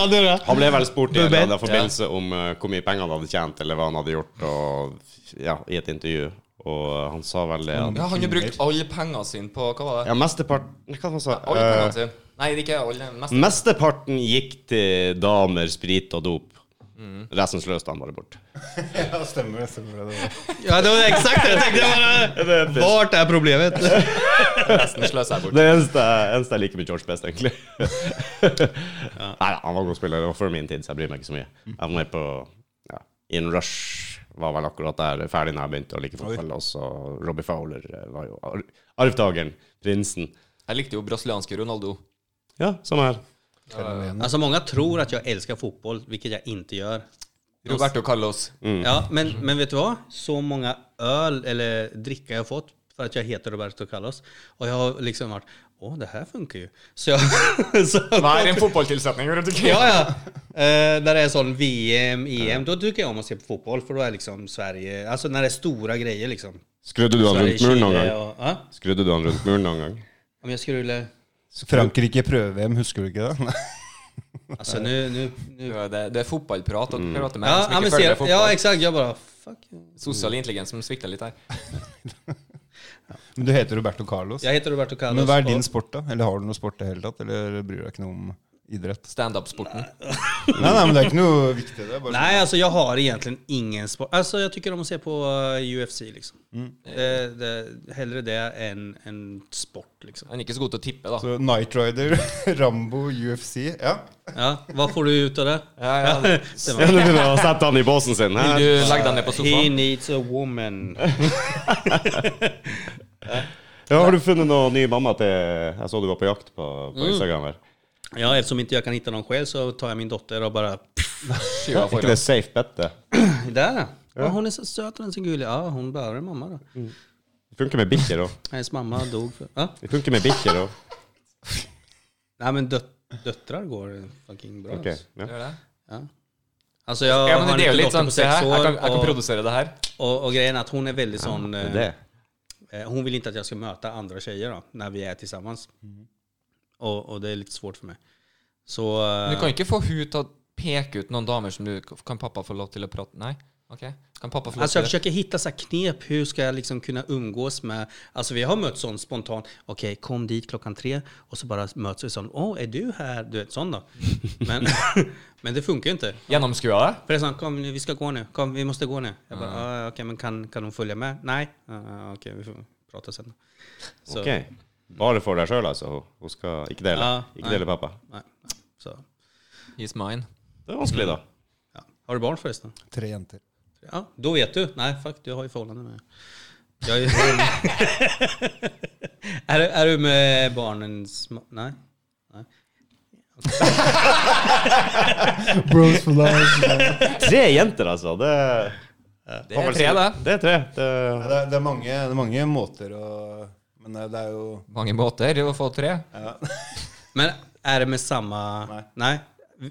den, da.
Han ble vel spurt i en
Bubben.
eller annen forbindelse om eh, hvor mye penger han hadde tjent, eller hva han hadde gjort, og, ja, i et intervju. Og eh, han sa vel det at
Ja, Han har brukt alle pengene sine på Hva var det?
Ja, mesteparten Hva var det han sa?
Alle pengene
Eh,
sine. Nei, det er ikke alle. Mest.
mesteparten gikk til damer, sprit og dop. Resten sløste han bare bort.
ja, stemmer det. stemmer det.
Ja, det var eksakt det jeg tenkte. Bare, vart er problemet?
Resten sløser jeg bort.
Det eneste, eneste jeg liker med George Best, egentlig. Nei, han var god spiller. Det var før min tid, så jeg bryr meg ikke så mye. Jeg var med på ja, In Rush. Var vel akkurat der ferdig når jeg begynte å like fotball. Og så Robbie Fowler eh, var jo ar- arvtakeren. Prinsen.
Jeg likte jo brasilianske Ronaldo.
Ja, sånn samme her.
Alltså, många tror att jag älskar fotboll, vilket jag inte gör.
Roberto Carlos.
Ja, men, men vet du vad? Så många öl eller dricka jag har fått för att jag heter Roberto Carlos. Och jag har liksom varit, åh, det här funkar ju. Så jag... så,
Vær en fotballtilsetning rundt omkring.
Ja, ja. Eh, när det är sån VM, EM, då tycker jag om att se på fotboll. För då är liksom Sverige, alltså när det är stora grejer liksom.
Skrudde du han
Sverige,
rundt muren noen
Chile
gang?
och... Ja?
Skrudde du han rundt muren noen gang?
Om jag skulle...
Frankrike i prøve-VM, husker du ikke det? Nei.
Alltså nu... nu, nu.
Ja, Det, det er fotballprat. Og du prater med
Ja,
en
ja,
som
men
ikke følger
ser,
med
ja,
fotball.
exakt. Jag bara, fuck.
Sosial intelligens som svikter litt her.
Men du heter Roberto Carlos.
Jag heter Roberto Carlos.
Men hva er
och-
din sport, da? Eller har du noe sport i det hele tatt? Eller bryr du deg ikke noe om idrett?
Standup-sporten.
Nei, nei, men det er ikke noe viktig. Det er bare
Nej, alltså jag har egentligen ingen sport. Alltså jag tycker om att se på eh, UFC liksom.
Mm.
Det, det, hellre det än en sport liksom.
Han er ikke så god til å tippe, da.
Så Night Rider, Rambo, UFC Ja.
Ja, vad får du ut av det?
Ja, ja.
Det var-
Ja, du begynner å sette han i båsen sin.
Vil
Hæ?
du legge deg ned på
He
sofaen?
needs a woman.
Ja, har du funnet noen ny mamma til Jeg så du var på jakt på, på Instagram her.
Ja, eftersom inte jag kan hitta någon själv så tar jag min dotter och bara...
Skyver
Er ikke
foran.
det safe bet, det?
Där ja. ja. Hon är så söt och den är så gullig. Ja, hon behöver en mamma då.
Det funker med bikkjer òg.
Hennes mamma dog för... Ja.
Det funker med bikkjer òg.
Nej men dött, döttrar går fucking bra.
Ok,
Alltså.
ja.
Gjør det?
Ja. Alltså jag
Ja,
har
men
en
det er jo
liten
litt
dotter
sånn
på
se
sex
her, jeg
år
kan, jeg kan
och-
produsere det her.
Och, och grejen är att hon är väldigt sån...
Det er
eh,
det.
eh, hon vill inte att jag ska möta andra tjejer då, när vi är tillsammans. Och, och det är lite svårt för mig. Så... eh,
Men Du kan ikke få hun til å peke ut noen damer som du Kan pappa få lov til å prate Nei? Ok. Kan pappa få lov
Alltså jag
til å
försöker hitta så här knep, hur ska jag liksom kunna umgås med... Alltså vi har mött sån spontan, okej kom dit klockan tre och så bara möts vi sån, åh är du här? Du vet sån då. Men, men det funkar ju inte.
gjennomskue det?
För det är sån, kom nu, vi ska gå nu, kom vi måste gå nu. Jag bara, ah, okej men kan, kan hon följa med? Nej, ah, okej vi får prata sen. Så,
Ok. Bare for deg sjøl, altså. Hun- Hun skal ikke dele.
Ja,
ikke dele pappa.
nej, så.
He's mine.
Det er vanskelig, da.
Ja. Har du barn förresten?
Tre jenter.
Ja, då vet du. Nej, fuck, du har ju förhållande med... Jag är, är, du- är du med barnens... ma- Nej.
Bros for life.
Tre jenter, altså. Det,
Det er tre, det.
det er tre. Det,
Det er, det, er mange, det er mange måter å Men eh, det er jo
Mange måter å få tre.
ja.
Men är det med samma?
Nej.
Nej.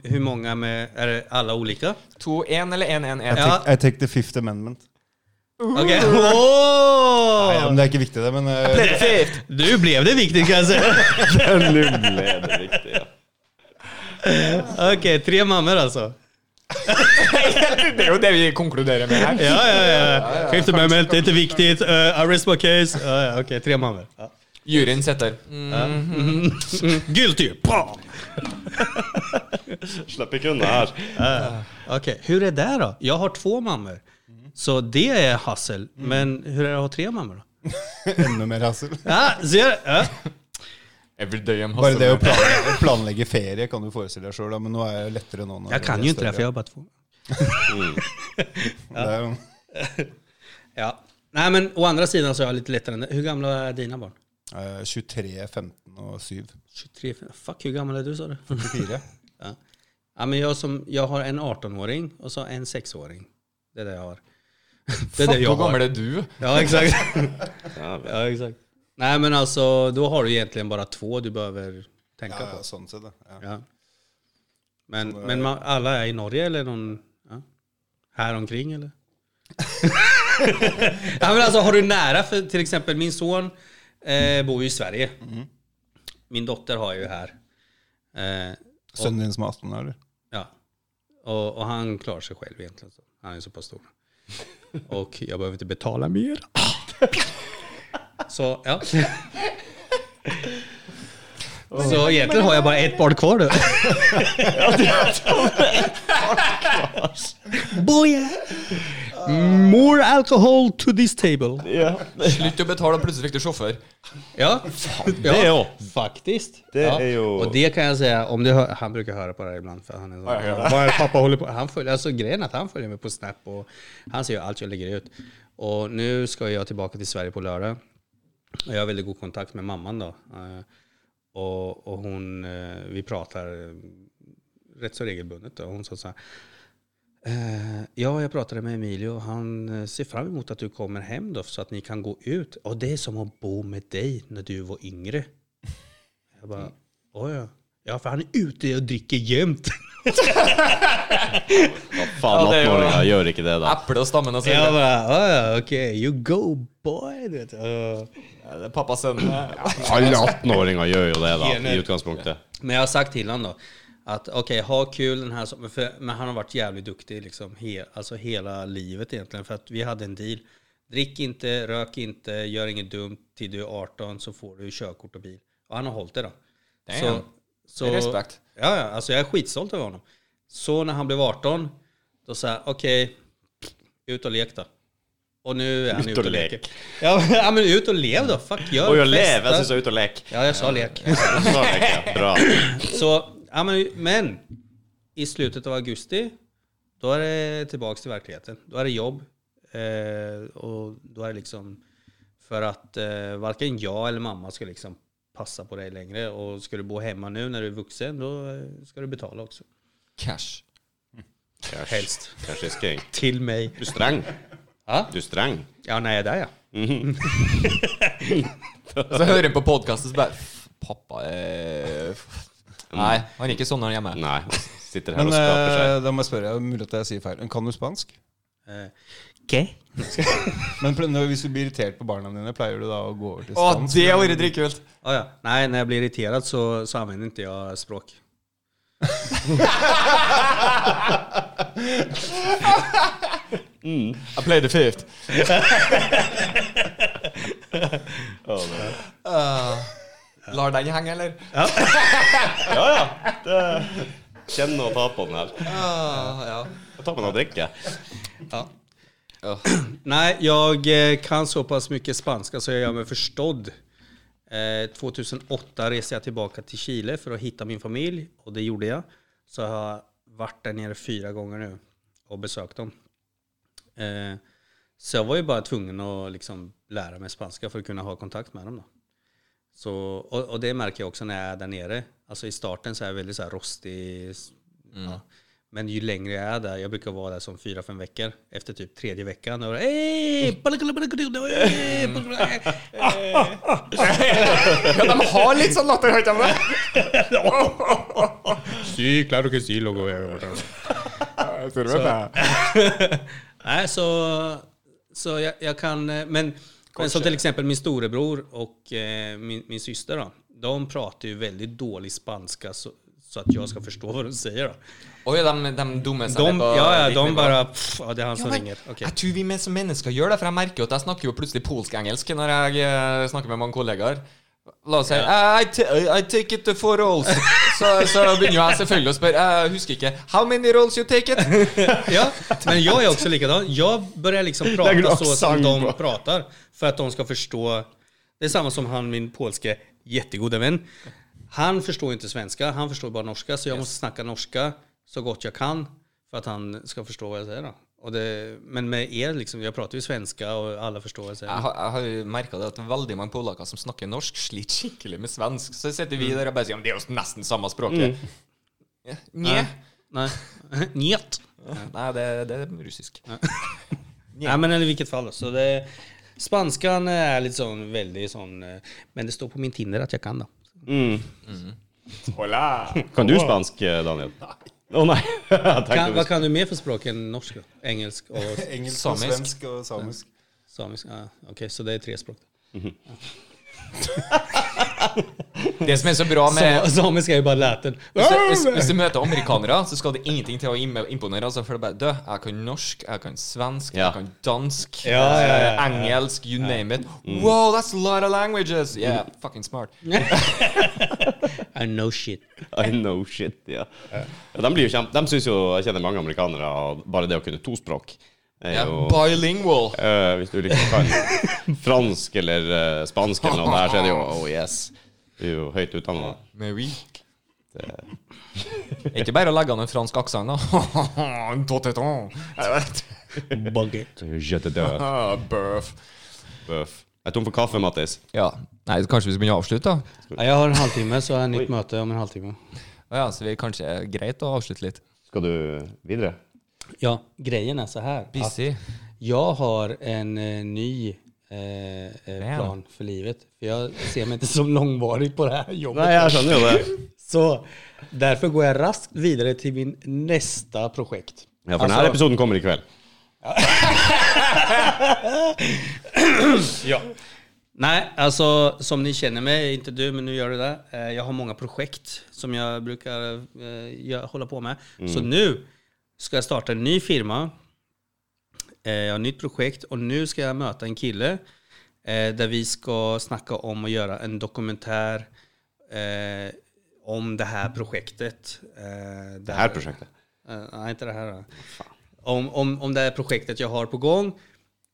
Hur många med, är det alla olika?
To, én eller én, én, én.
Ja.
I take the fifth amendment.
Okej. Åh!
Nei, ja, men det er ikke viktig, det, men eh,
Du blev det viktigt kan jag säga.
Nå ble det viktig, ja.
Okej, tre mammor alltså.
Det er jo det vi konkluderer med her.
Ja, ja, ja. Fifth amendment, det är inte viktigt. Uh, arrest my case. Ja, ja, Okej, tre mammor. Ja.
Juryen sitter. Mm.
Mm. Guilty! Bam!
Slipper ikke unna her.
Okej, hur är det då? Jag har två mammor. Så det är hassel. Men hur är det att ha tre mammor då?
enda mer hassel.
Ja, ser ja.
Every day I'm
Bare
hustling.
det å planlegge, planlegge ferie kan du forestille deg sjøl, men nå er det lettere nå. når
Jag
det
kan
blir
ju inte det
større.
för jag har bara två.
Det er jo-
Ja. Nej, men å andra sidan så är jag lite lättare än det. Hur gamla är dina barn?
Eh, 23, 15 og 7.
23, fuck hur gammal är du sa du?
24.
Ja. Ja, men jag, som, jag har en 18-åring och så en 6-åring. Det är det jag har. Det är det
Fuck,
jag
hvor
har.
gammel er du?
Ja, exakt.
Ja, vel.
ja, exakt. Nej, men alltså då har du egentligen bara två du behöver tänka
Ja,
på.
ja, sånn sett, ja.
Ja. Men, men man, alla är i Norge eller någon ja, här omkring eller? ja, men alltså, har du nära för till exempel min son eh, bor ju i Sverige. Min dotter har ju här. Eh,
Sønnen din som er 18 år, eller?
Ja. Och, och han klarar sig själv egentligen. Så. Han är så pass stor. Och jag behöver inte betala mer. Så ja. Så egentligen har jag bara ett barn kvar nu. Boja! More alcohol to this table.
Ja.
Slutt å betale, og plutselig fikk du sjåfør.
Ja,
Det
ja
òg.
faktiskt.
Det
ja.
är ju-
Och det kan jag säga, om det hör, han brukar höra på det här ibland för han är så,
Ja, ja, ja.
Vad är det pappa håller på han altså, följer, alltså grejen är att han följer mig på Snap och han ser ju allt jag lägger ut. Och nu ska jag tillbaka till Sverige på lördag. Och jag har väldigt god kontakt med mamman då. Eh, Och, och hon, eh, vi pratar eh, rätt så regelbundet då. Hon sa så här, Eh, ja, jag pratade med Emilio. Han eh, ser fram emot att du kommer hem då så att ni kan gå ut. Och det är som att bo med dig när du var yngre. Jag bara, oj ja. Ja, för han är ute och dricker jämt.
Hva faen,
Ja, det er jo-
18-åringer gjør ikke det, da.
Eple og stammen og så
Jag
videre.
bara, "Ja, ja, okej, you go boy. Du vet. Och-
Ja, det er Pappas sønn.
Alle 18-åringer gjør jo det, da, i
Enig.
utgangspunktet.
Men jag har sagt till honom då att okej, ha kul den här sommaren. För- Men han har varit jävligt duktig liksom, he, alltså hela livet egentligen. För att vi hade en deal. Drick inte, rök inte, gör inget dumt. Till du är 18 så får du körkort och bil. Och han har hållit det då.
Damn.
så,
Det är respekt.
Ja, ja, alltså jag är skitstolt över honom. Så när han blev 18, då sa jag okej, ut och lek då. Och nu är han
Ut
ute
och
och
lek.
leker. Ja, men- ja, men ut och lev då. Fuck, gör
Oi, å leve!
festa.
Jeg syns jeg er ute og leker.
Ja, jag sa lek.
Så er det ikke Bra.
Så, ja, men, men i slutet av augusti, då är det tillbaks till verkligheten. Då är det jobb. Eh, och då är det liksom för att eh, varken jag eller mamma ska liksom passa på dig längre. Och ska du bo hemma nu när du är vuxen, då eh, ska du betala också.
Cash.
Helst. Kanskje sking.
Till mig.
Du er streng.
Ja,
Du er streng.
ja nej, där ja.
Og så hører han på podkasten, så bare "F- Pappa eh, f- Nei, han er ikke sånn når han er hjemme.
Nei. Sitter her
Men
og skaper seg.
eh, da må jeg spørre, det er mulig at jeg sier feil. Men Kan du spansk?
Eh, okej.
Men pl- når- hvis du blir irritert på barna dine, pleier du da å gå over til
Å,
spansk?
det har vært dritkult!
Ja, ja. Nej, när jag blir irriterad så, så använder inte jag språk.
eh, I played the fifth. Ah, lar den henge, eller?
Ja, ja. Det... Kjenne og ta på den her.
Ah, ja.
Ta på den og drikke.
Ja.
Ja.
Nej, jag eh, kan så pass mycket spanska så jag gör mig förstådd. Eh, 2008 reste jag tillbaka till Chile för att hitta min familj och det gjorde jag. Så jag har varit där nere fyra gånger nu och besökt dem. Eh, så jag var ju bara tvungen att liksom lära mig spanska för att kunna ha kontakt med dem. Då. Så, och, Altså, Mm. och det märker jag också när jag är där nere. Alltså i starten så är jag väldigt så här rostig. s- sånn Ja. Men ju längre jag är där, jag brukar vara där som fyra, fem veckor. sånn Efter typ tredje veckan, då är det "Ey, balakala, balakala, ey, balakala."
Ja, de har litt sånn latter høyt hjemme.
Sy, klarer du ikke sy logo? Nej, så, så jag, jag kan... eh, Men, men som till exempel min storebror och eh, min, min syster då. De pratar ju väldigt dålig spanska så, så att jag ska förstå vad de säger. Då.
Oi, de, de dumme seg
De,
ned på
ja, ja,
ditt
de
nivå.
bara... Pff, ja, det är han
Ja,
som
men
ringer. Okej.
Jeg tror vi men- som mennesker gjør det, for jeg merker jo at jeg snakker jo plutselig polsk-engelsk når jeg eh, snakker med mange kollegaer. La oss si I, ta- I take it for rolls. Så, så begynner jo jeg selvfølgelig å spørre. Jeg husker ikke. How many rolls you take it?
Ja, men jag är också likadan. Jag börjar liksom
Lägger
prata
du
så som
accent
de
på?
pratar för att de ska förstå. Det är samma som han, min polske jättegoda vän. Han förstår inte svenska, han förstår bara norska, så jag måste snacka norska så gott jag kan för att han ska förstå vad jag säger. Då. Och det, men med er, liksom, jag pratar ju svenska og alla förstår vad
Ah,
jag säger.
Jeg har, jeg har jo merket det at veldig mange polakker som snakker norsk, sliter skikkelig med svensk. Så sitter vi der og bare sier Men det er jo nesten samme språket. Ja, Nje.
Nej. Njet.
Nei, det, det er russisk.
Nej, men i vilket fall. Så det, spanskan är lite sån, väldigt sån, eh, men det står på min Tinder att jag kan då.
Kan du spansk, eh, Daniel? Å nei. Jeg tenkte
Kan, vad kan du mer för språk än norska, engelsk och
eh, Engelsk
Samisk.
og svensk og samisk.
Samisk, ja. Okej, så det är tre språk.
Det som er så bra med
Sa- Samiska är ju bara läten.
Hvis du, hvis, hvis du møter amerikanere, så skal det ingenting til å im- imponere. Altså, for det er bare, Dø, jeg kan norsk, jeg kan svensk,
Ja.
jeg kan dansk,
Ja, ja, ja, ja.
engelsk, you name it.
Mm.
Wow, that's a lot of languages! Yeah, fucking smart.
I know shit.
I know shit, ja. ja de blir jo kjempe... De syns jo Jeg kjenner mange amerikanere, og bare det å kunne to språk er
Yeah,
jo
bilingual.
Eh, Hvis du liksom kan fransk eller eh, spansk eller noe der, så er det jo oh yes. Du er jo høyt utdanna.
Med we. Ikke bare å legge an en fransk aksent, da. Tot et an. Jeg vet.
Baguette.
Je te dør,
Ah, Bøff.
bøff. Jeg er tom for kaffe, Mattis.
Ja. Nei, så kanskje vi skal begynne å avslutte, da?
Ja, jag har en halvtimme, så har jag nytt möte om en halvtimme.
Å Ja, så vi kanskje er greit å avslutte litt.
Skal du videre?
Ja, grejen är så här. Att
Busy.
jag har en eh, ny eh, eh, plan för livet. För jag ser mig inte som långvarig på det här jobbet.
Nei, jeg skjønner jo det.
Så därför går jag raskt vidare till min nästa projekt.
Ja, For denne
Alltså-
episoden kommer i kveld.
Nej, alltså som ni känner mig, inte du, men nu gör du det. Eh, Jag har många projekt som jag brukar eh, gö- hålla på med. Så nu ska jag starta en ny firma. Eh, Jag har ett nytt projekt och nu ska jag möta en kille eh, där vi ska snacka om att göra en dokumentär eh, om det här projektet. Eh,
Det her prosjektet.
Eh, nej, inte det här. då. Om, om, om det här projektet jag har på gång.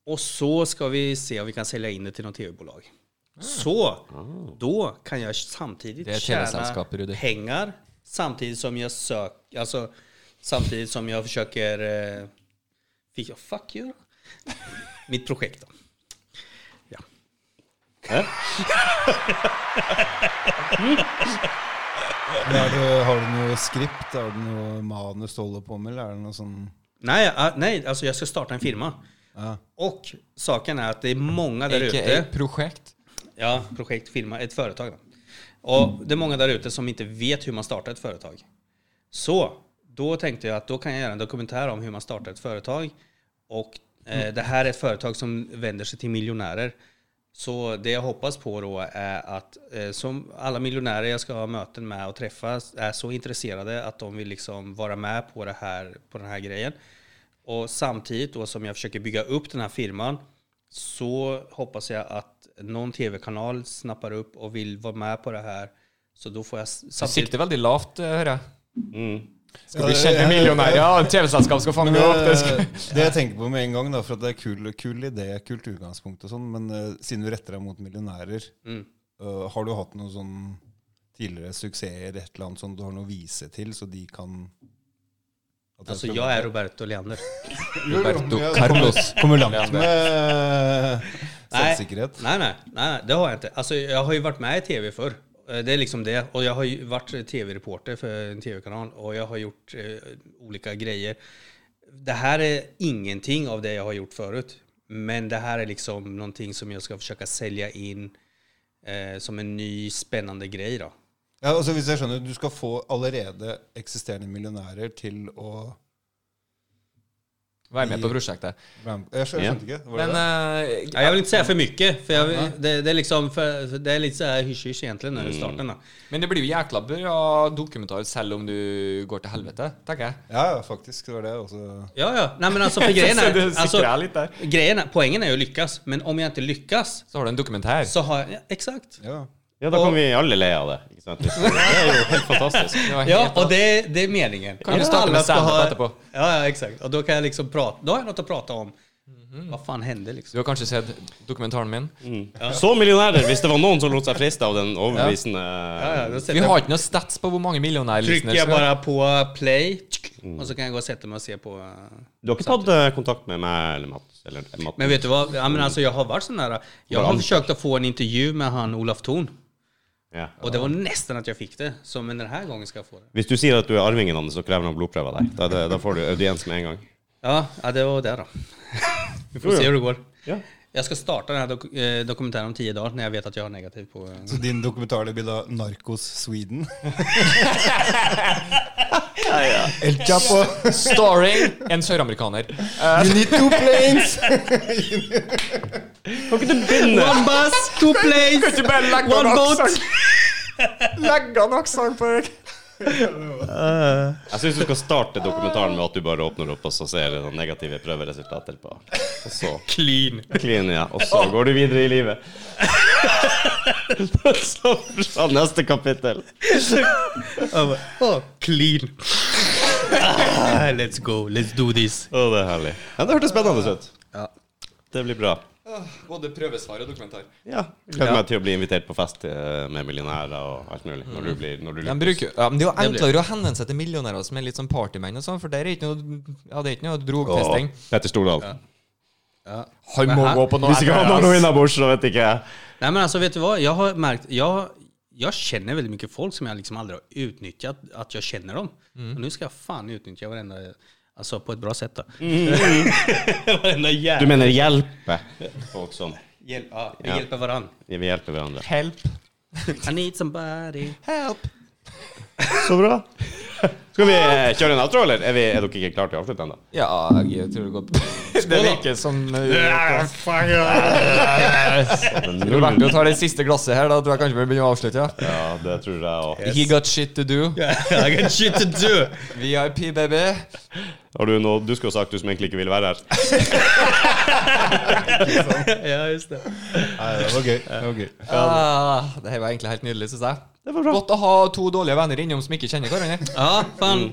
Och så ska vi se om vi kan sälja in det till något tv-bolag. Så då kan jag samtidigt
Ah. Det är ett
tjäna
telesällskap, Rudi.
pengar samtidigt som jag söker, alltså samtidigt som jag försöker, eh, fick jag fuck you då? Mitt projekt då. Ja.
Men er det, har du noe skript? Har du noe manus du holder på med, eller er det noe sånn
Nej, ah, nej, alltså jag ska starta en firma.
Ah.
Och saken är att det är många där ute.
Ikke et prosjekt.
Ja, projekt, firma, ett företag. Då. Och det är många där ute som inte vet hur man startar ett företag. Så då tänkte jag att då kan jag göra en dokumentär om hur man startar ett företag. Och eh, det här är ett företag som vänder sig till miljonärer. Så det jag hoppas på då är att eh, som alla miljonärer jag ska ha möten med och träffa är så intresserade att de vill liksom vara med på, det här, på den här grejen. Och samtidigt då som jag försöker bygga upp den här firman så hoppas jeg at noen TV-kanal snapper opp og vil være med på det her. Så da får jeg s-
Du
samtidig
sikter veldig lavt, eh, hører jeg.
Mm.
Skal
Vi kjenner millionærer, og TV-selskap skal fange
Men,
meg opp. Det skal.
eh, det jeg tenker på med en gang, da, for at det er kul, kul idé, kult utgangspunkt og sånn, men eh, siden du retter deg mot millionærer, eh, har du hatt noen sånn tidligere suksesser, et eller annet sånn du har noe å vise til, så de kan at det
Altså,
skal-
jeg er Roberto Leander.
Roberto Carlos.
Kommer langt med eh,
Nei.
selvsikkerhet.
Nei, nei, nei, nei, det har jeg ikke. Altså, jeg har jo vært med i TV før. Eh, Det är liksom det. Och jag har ju varit tv-reporter för en tv-kanal och jag har gjort eh, olika grejer. Det här är ingenting av det jag har gjort förut. Men det här är liksom någonting som jag ska försöka sälja in eh, som en ny spännande grej då.
Ja, altså hvis jeg skjønner, Du skal få allerede eksisterende millionærer til å
Vær med på prosjektet.
være med- Jeg skjønte
Ja.
ikke. Var
Men
det det?
eh,
Ja, jag vill inte säga för mycket, för jag, vill- det, det, är liksom för, för det är lite så här hysch-hysch egentligen
Mm.
nu i starten. Då.
Men det blir jo jækla bra dokumentar selv om du går til helvete, tenker jeg.
Ja, ja, faktisk. Det altså. var det også.
Ja, ja. Nej, men altså, alltså för grejen
Så
är,
det
alltså,
sikrer jeg litt der.
grejen är, poängen är ju att lyckas, men om jag inte lyckas
Så har du en dokumentær.
så har jag, ja, exakt.
Ja.
Ja, da kan vi alle le av det. Ikke sant? Det er jo helt fantastisk.
Det var
Ja,
helt
och det, det är meningen.
Kan du
Att
starta
alla
med
ska
stand-up
ha-
etterpå?
Ja, ja, exakt. Och då kan jag liksom prata, då har jag något att prata om.
Mhm.
Vad fan hände
Du
liksom?
har kanskje sett dokumentaren min?
Mm.
Så millionærer, hvis det var noen som lot seg friste av den overbevisende
Ja, ja, då sätter
Vi
jag-
har ikke noe stats på hvor mange millioner
trycker jag bara på uh, play tsk,
Mm.
och så kan jag gå och sätta mig och se på. eh.
Du har ikke tatt eh, kontakt med meg eller Mats? Eller Mats.
Men vet du vad? Ja, men alltså, jag har varit sån där. Jag har
Bransch.
försökt att få en intervju med han Olaf Thorn.
ja.
Och det var nästan att jag fick det. Så men den här gången ska jag få det.
Hvis du sier at du er arvingen hans, så krever han blodprøve av deg. Da, er det- da får du audiens med en gang.
Ja, ja det var det då. Vi får
Jo,
se
jo.
hur det går.
Ja.
Jag ska starta den här dok eh, dokumentären om tio dagar när jag vet att jag har negativ på... eh,
Så din dokumentar det blir da 'Narkos Sweden'? El Chapo,
Starring en søramerikaner.
you need two planes!
Kan ikke du begynne?
One bus, two planes, one boat!
Legg an aksent på det!
Jeg syns du skal starte dokumentaren med at du bare åpner opp og så ser du noen negative prøveresultater på. Og så
Clean.
clean, ja. Og så går du videre i livet. så fra neste kapittel.
Jag bara, oh, clean. Ah, let's go, let's do this.
Å, det er herlig. Ja, det hørtes spennende ut.
Ja.
Det blir bra.
Både prøvesvar og dokumentar.
Ja. Gleder meg til å bli invitert på fest eh, med millionærer og alt mulig. Når du blir når du
De bruker, ja, men det er jo enklere å henvende seg til millionærer som er litt sånn partymenn og sånn, for der er ikke noe, ja, det er ikke noe drogtesting.
Å, Petter Stordal.
Han må
Men her-
gå på noe
Hvis ikke han har noe innabords, så vet ikke jeg.
Nej men altså vet du vad, jag har märkt, jag, jag känner väldigt mycket folk som jag liksom aldrig har utnyttjat, att jag känner dem. Och nu ska jag fan utnyttja varenda, alltså på ett bra sätt då. varenda
Du
jävel.
mener hjelpe folk som
Hjälp, ja, vi
Ja.
hjälper varandra.
Vi hjelper hverandre.
Help.
I need somebody.
Help.
Så bra. Skal vi eh, kjøre en outro, eller? Er, vi, er dere ikke klare til å avslutte ennå?
Ja, jeg tror det går på. Det virker som uh, Roberto tar det siste glasset her, da tror jeg kanskje vi begynner å avslutte. ja.
Ja, det tror jeg òg.
He got shit to do.
I got shit to do.
VIP, baby.
Har du noe du skulle ha sagt, du som egentlig ikke ville være her?
ja, just det.
Nei, det var gøy. Det var gøy.
Ah, det her var egentlig helt nydelig, synes jeg.
Det var bra.
Godt å ha to dårlige venner innom som ikke kjenner hverandre.
Ja, fan.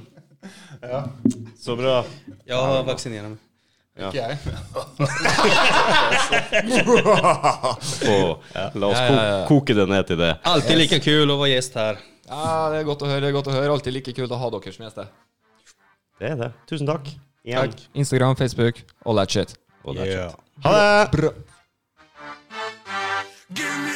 Så bra.
Jag har vaccinerat mig.
Ikke jeg.
Og la oss
Ja,
ko
ja, ja.
koke det ned til det.
Alltid lika kul att vara gäst här.
Ja, det er godt å høre. det er godt å høre Alltid like kult å ha dere som gjester.
Det er det. Tusen takk. Igjen.
Instagram, Facebook, all that shit.
Og det er
Yeah.
kjekt. Ha det!
Bra.
Give me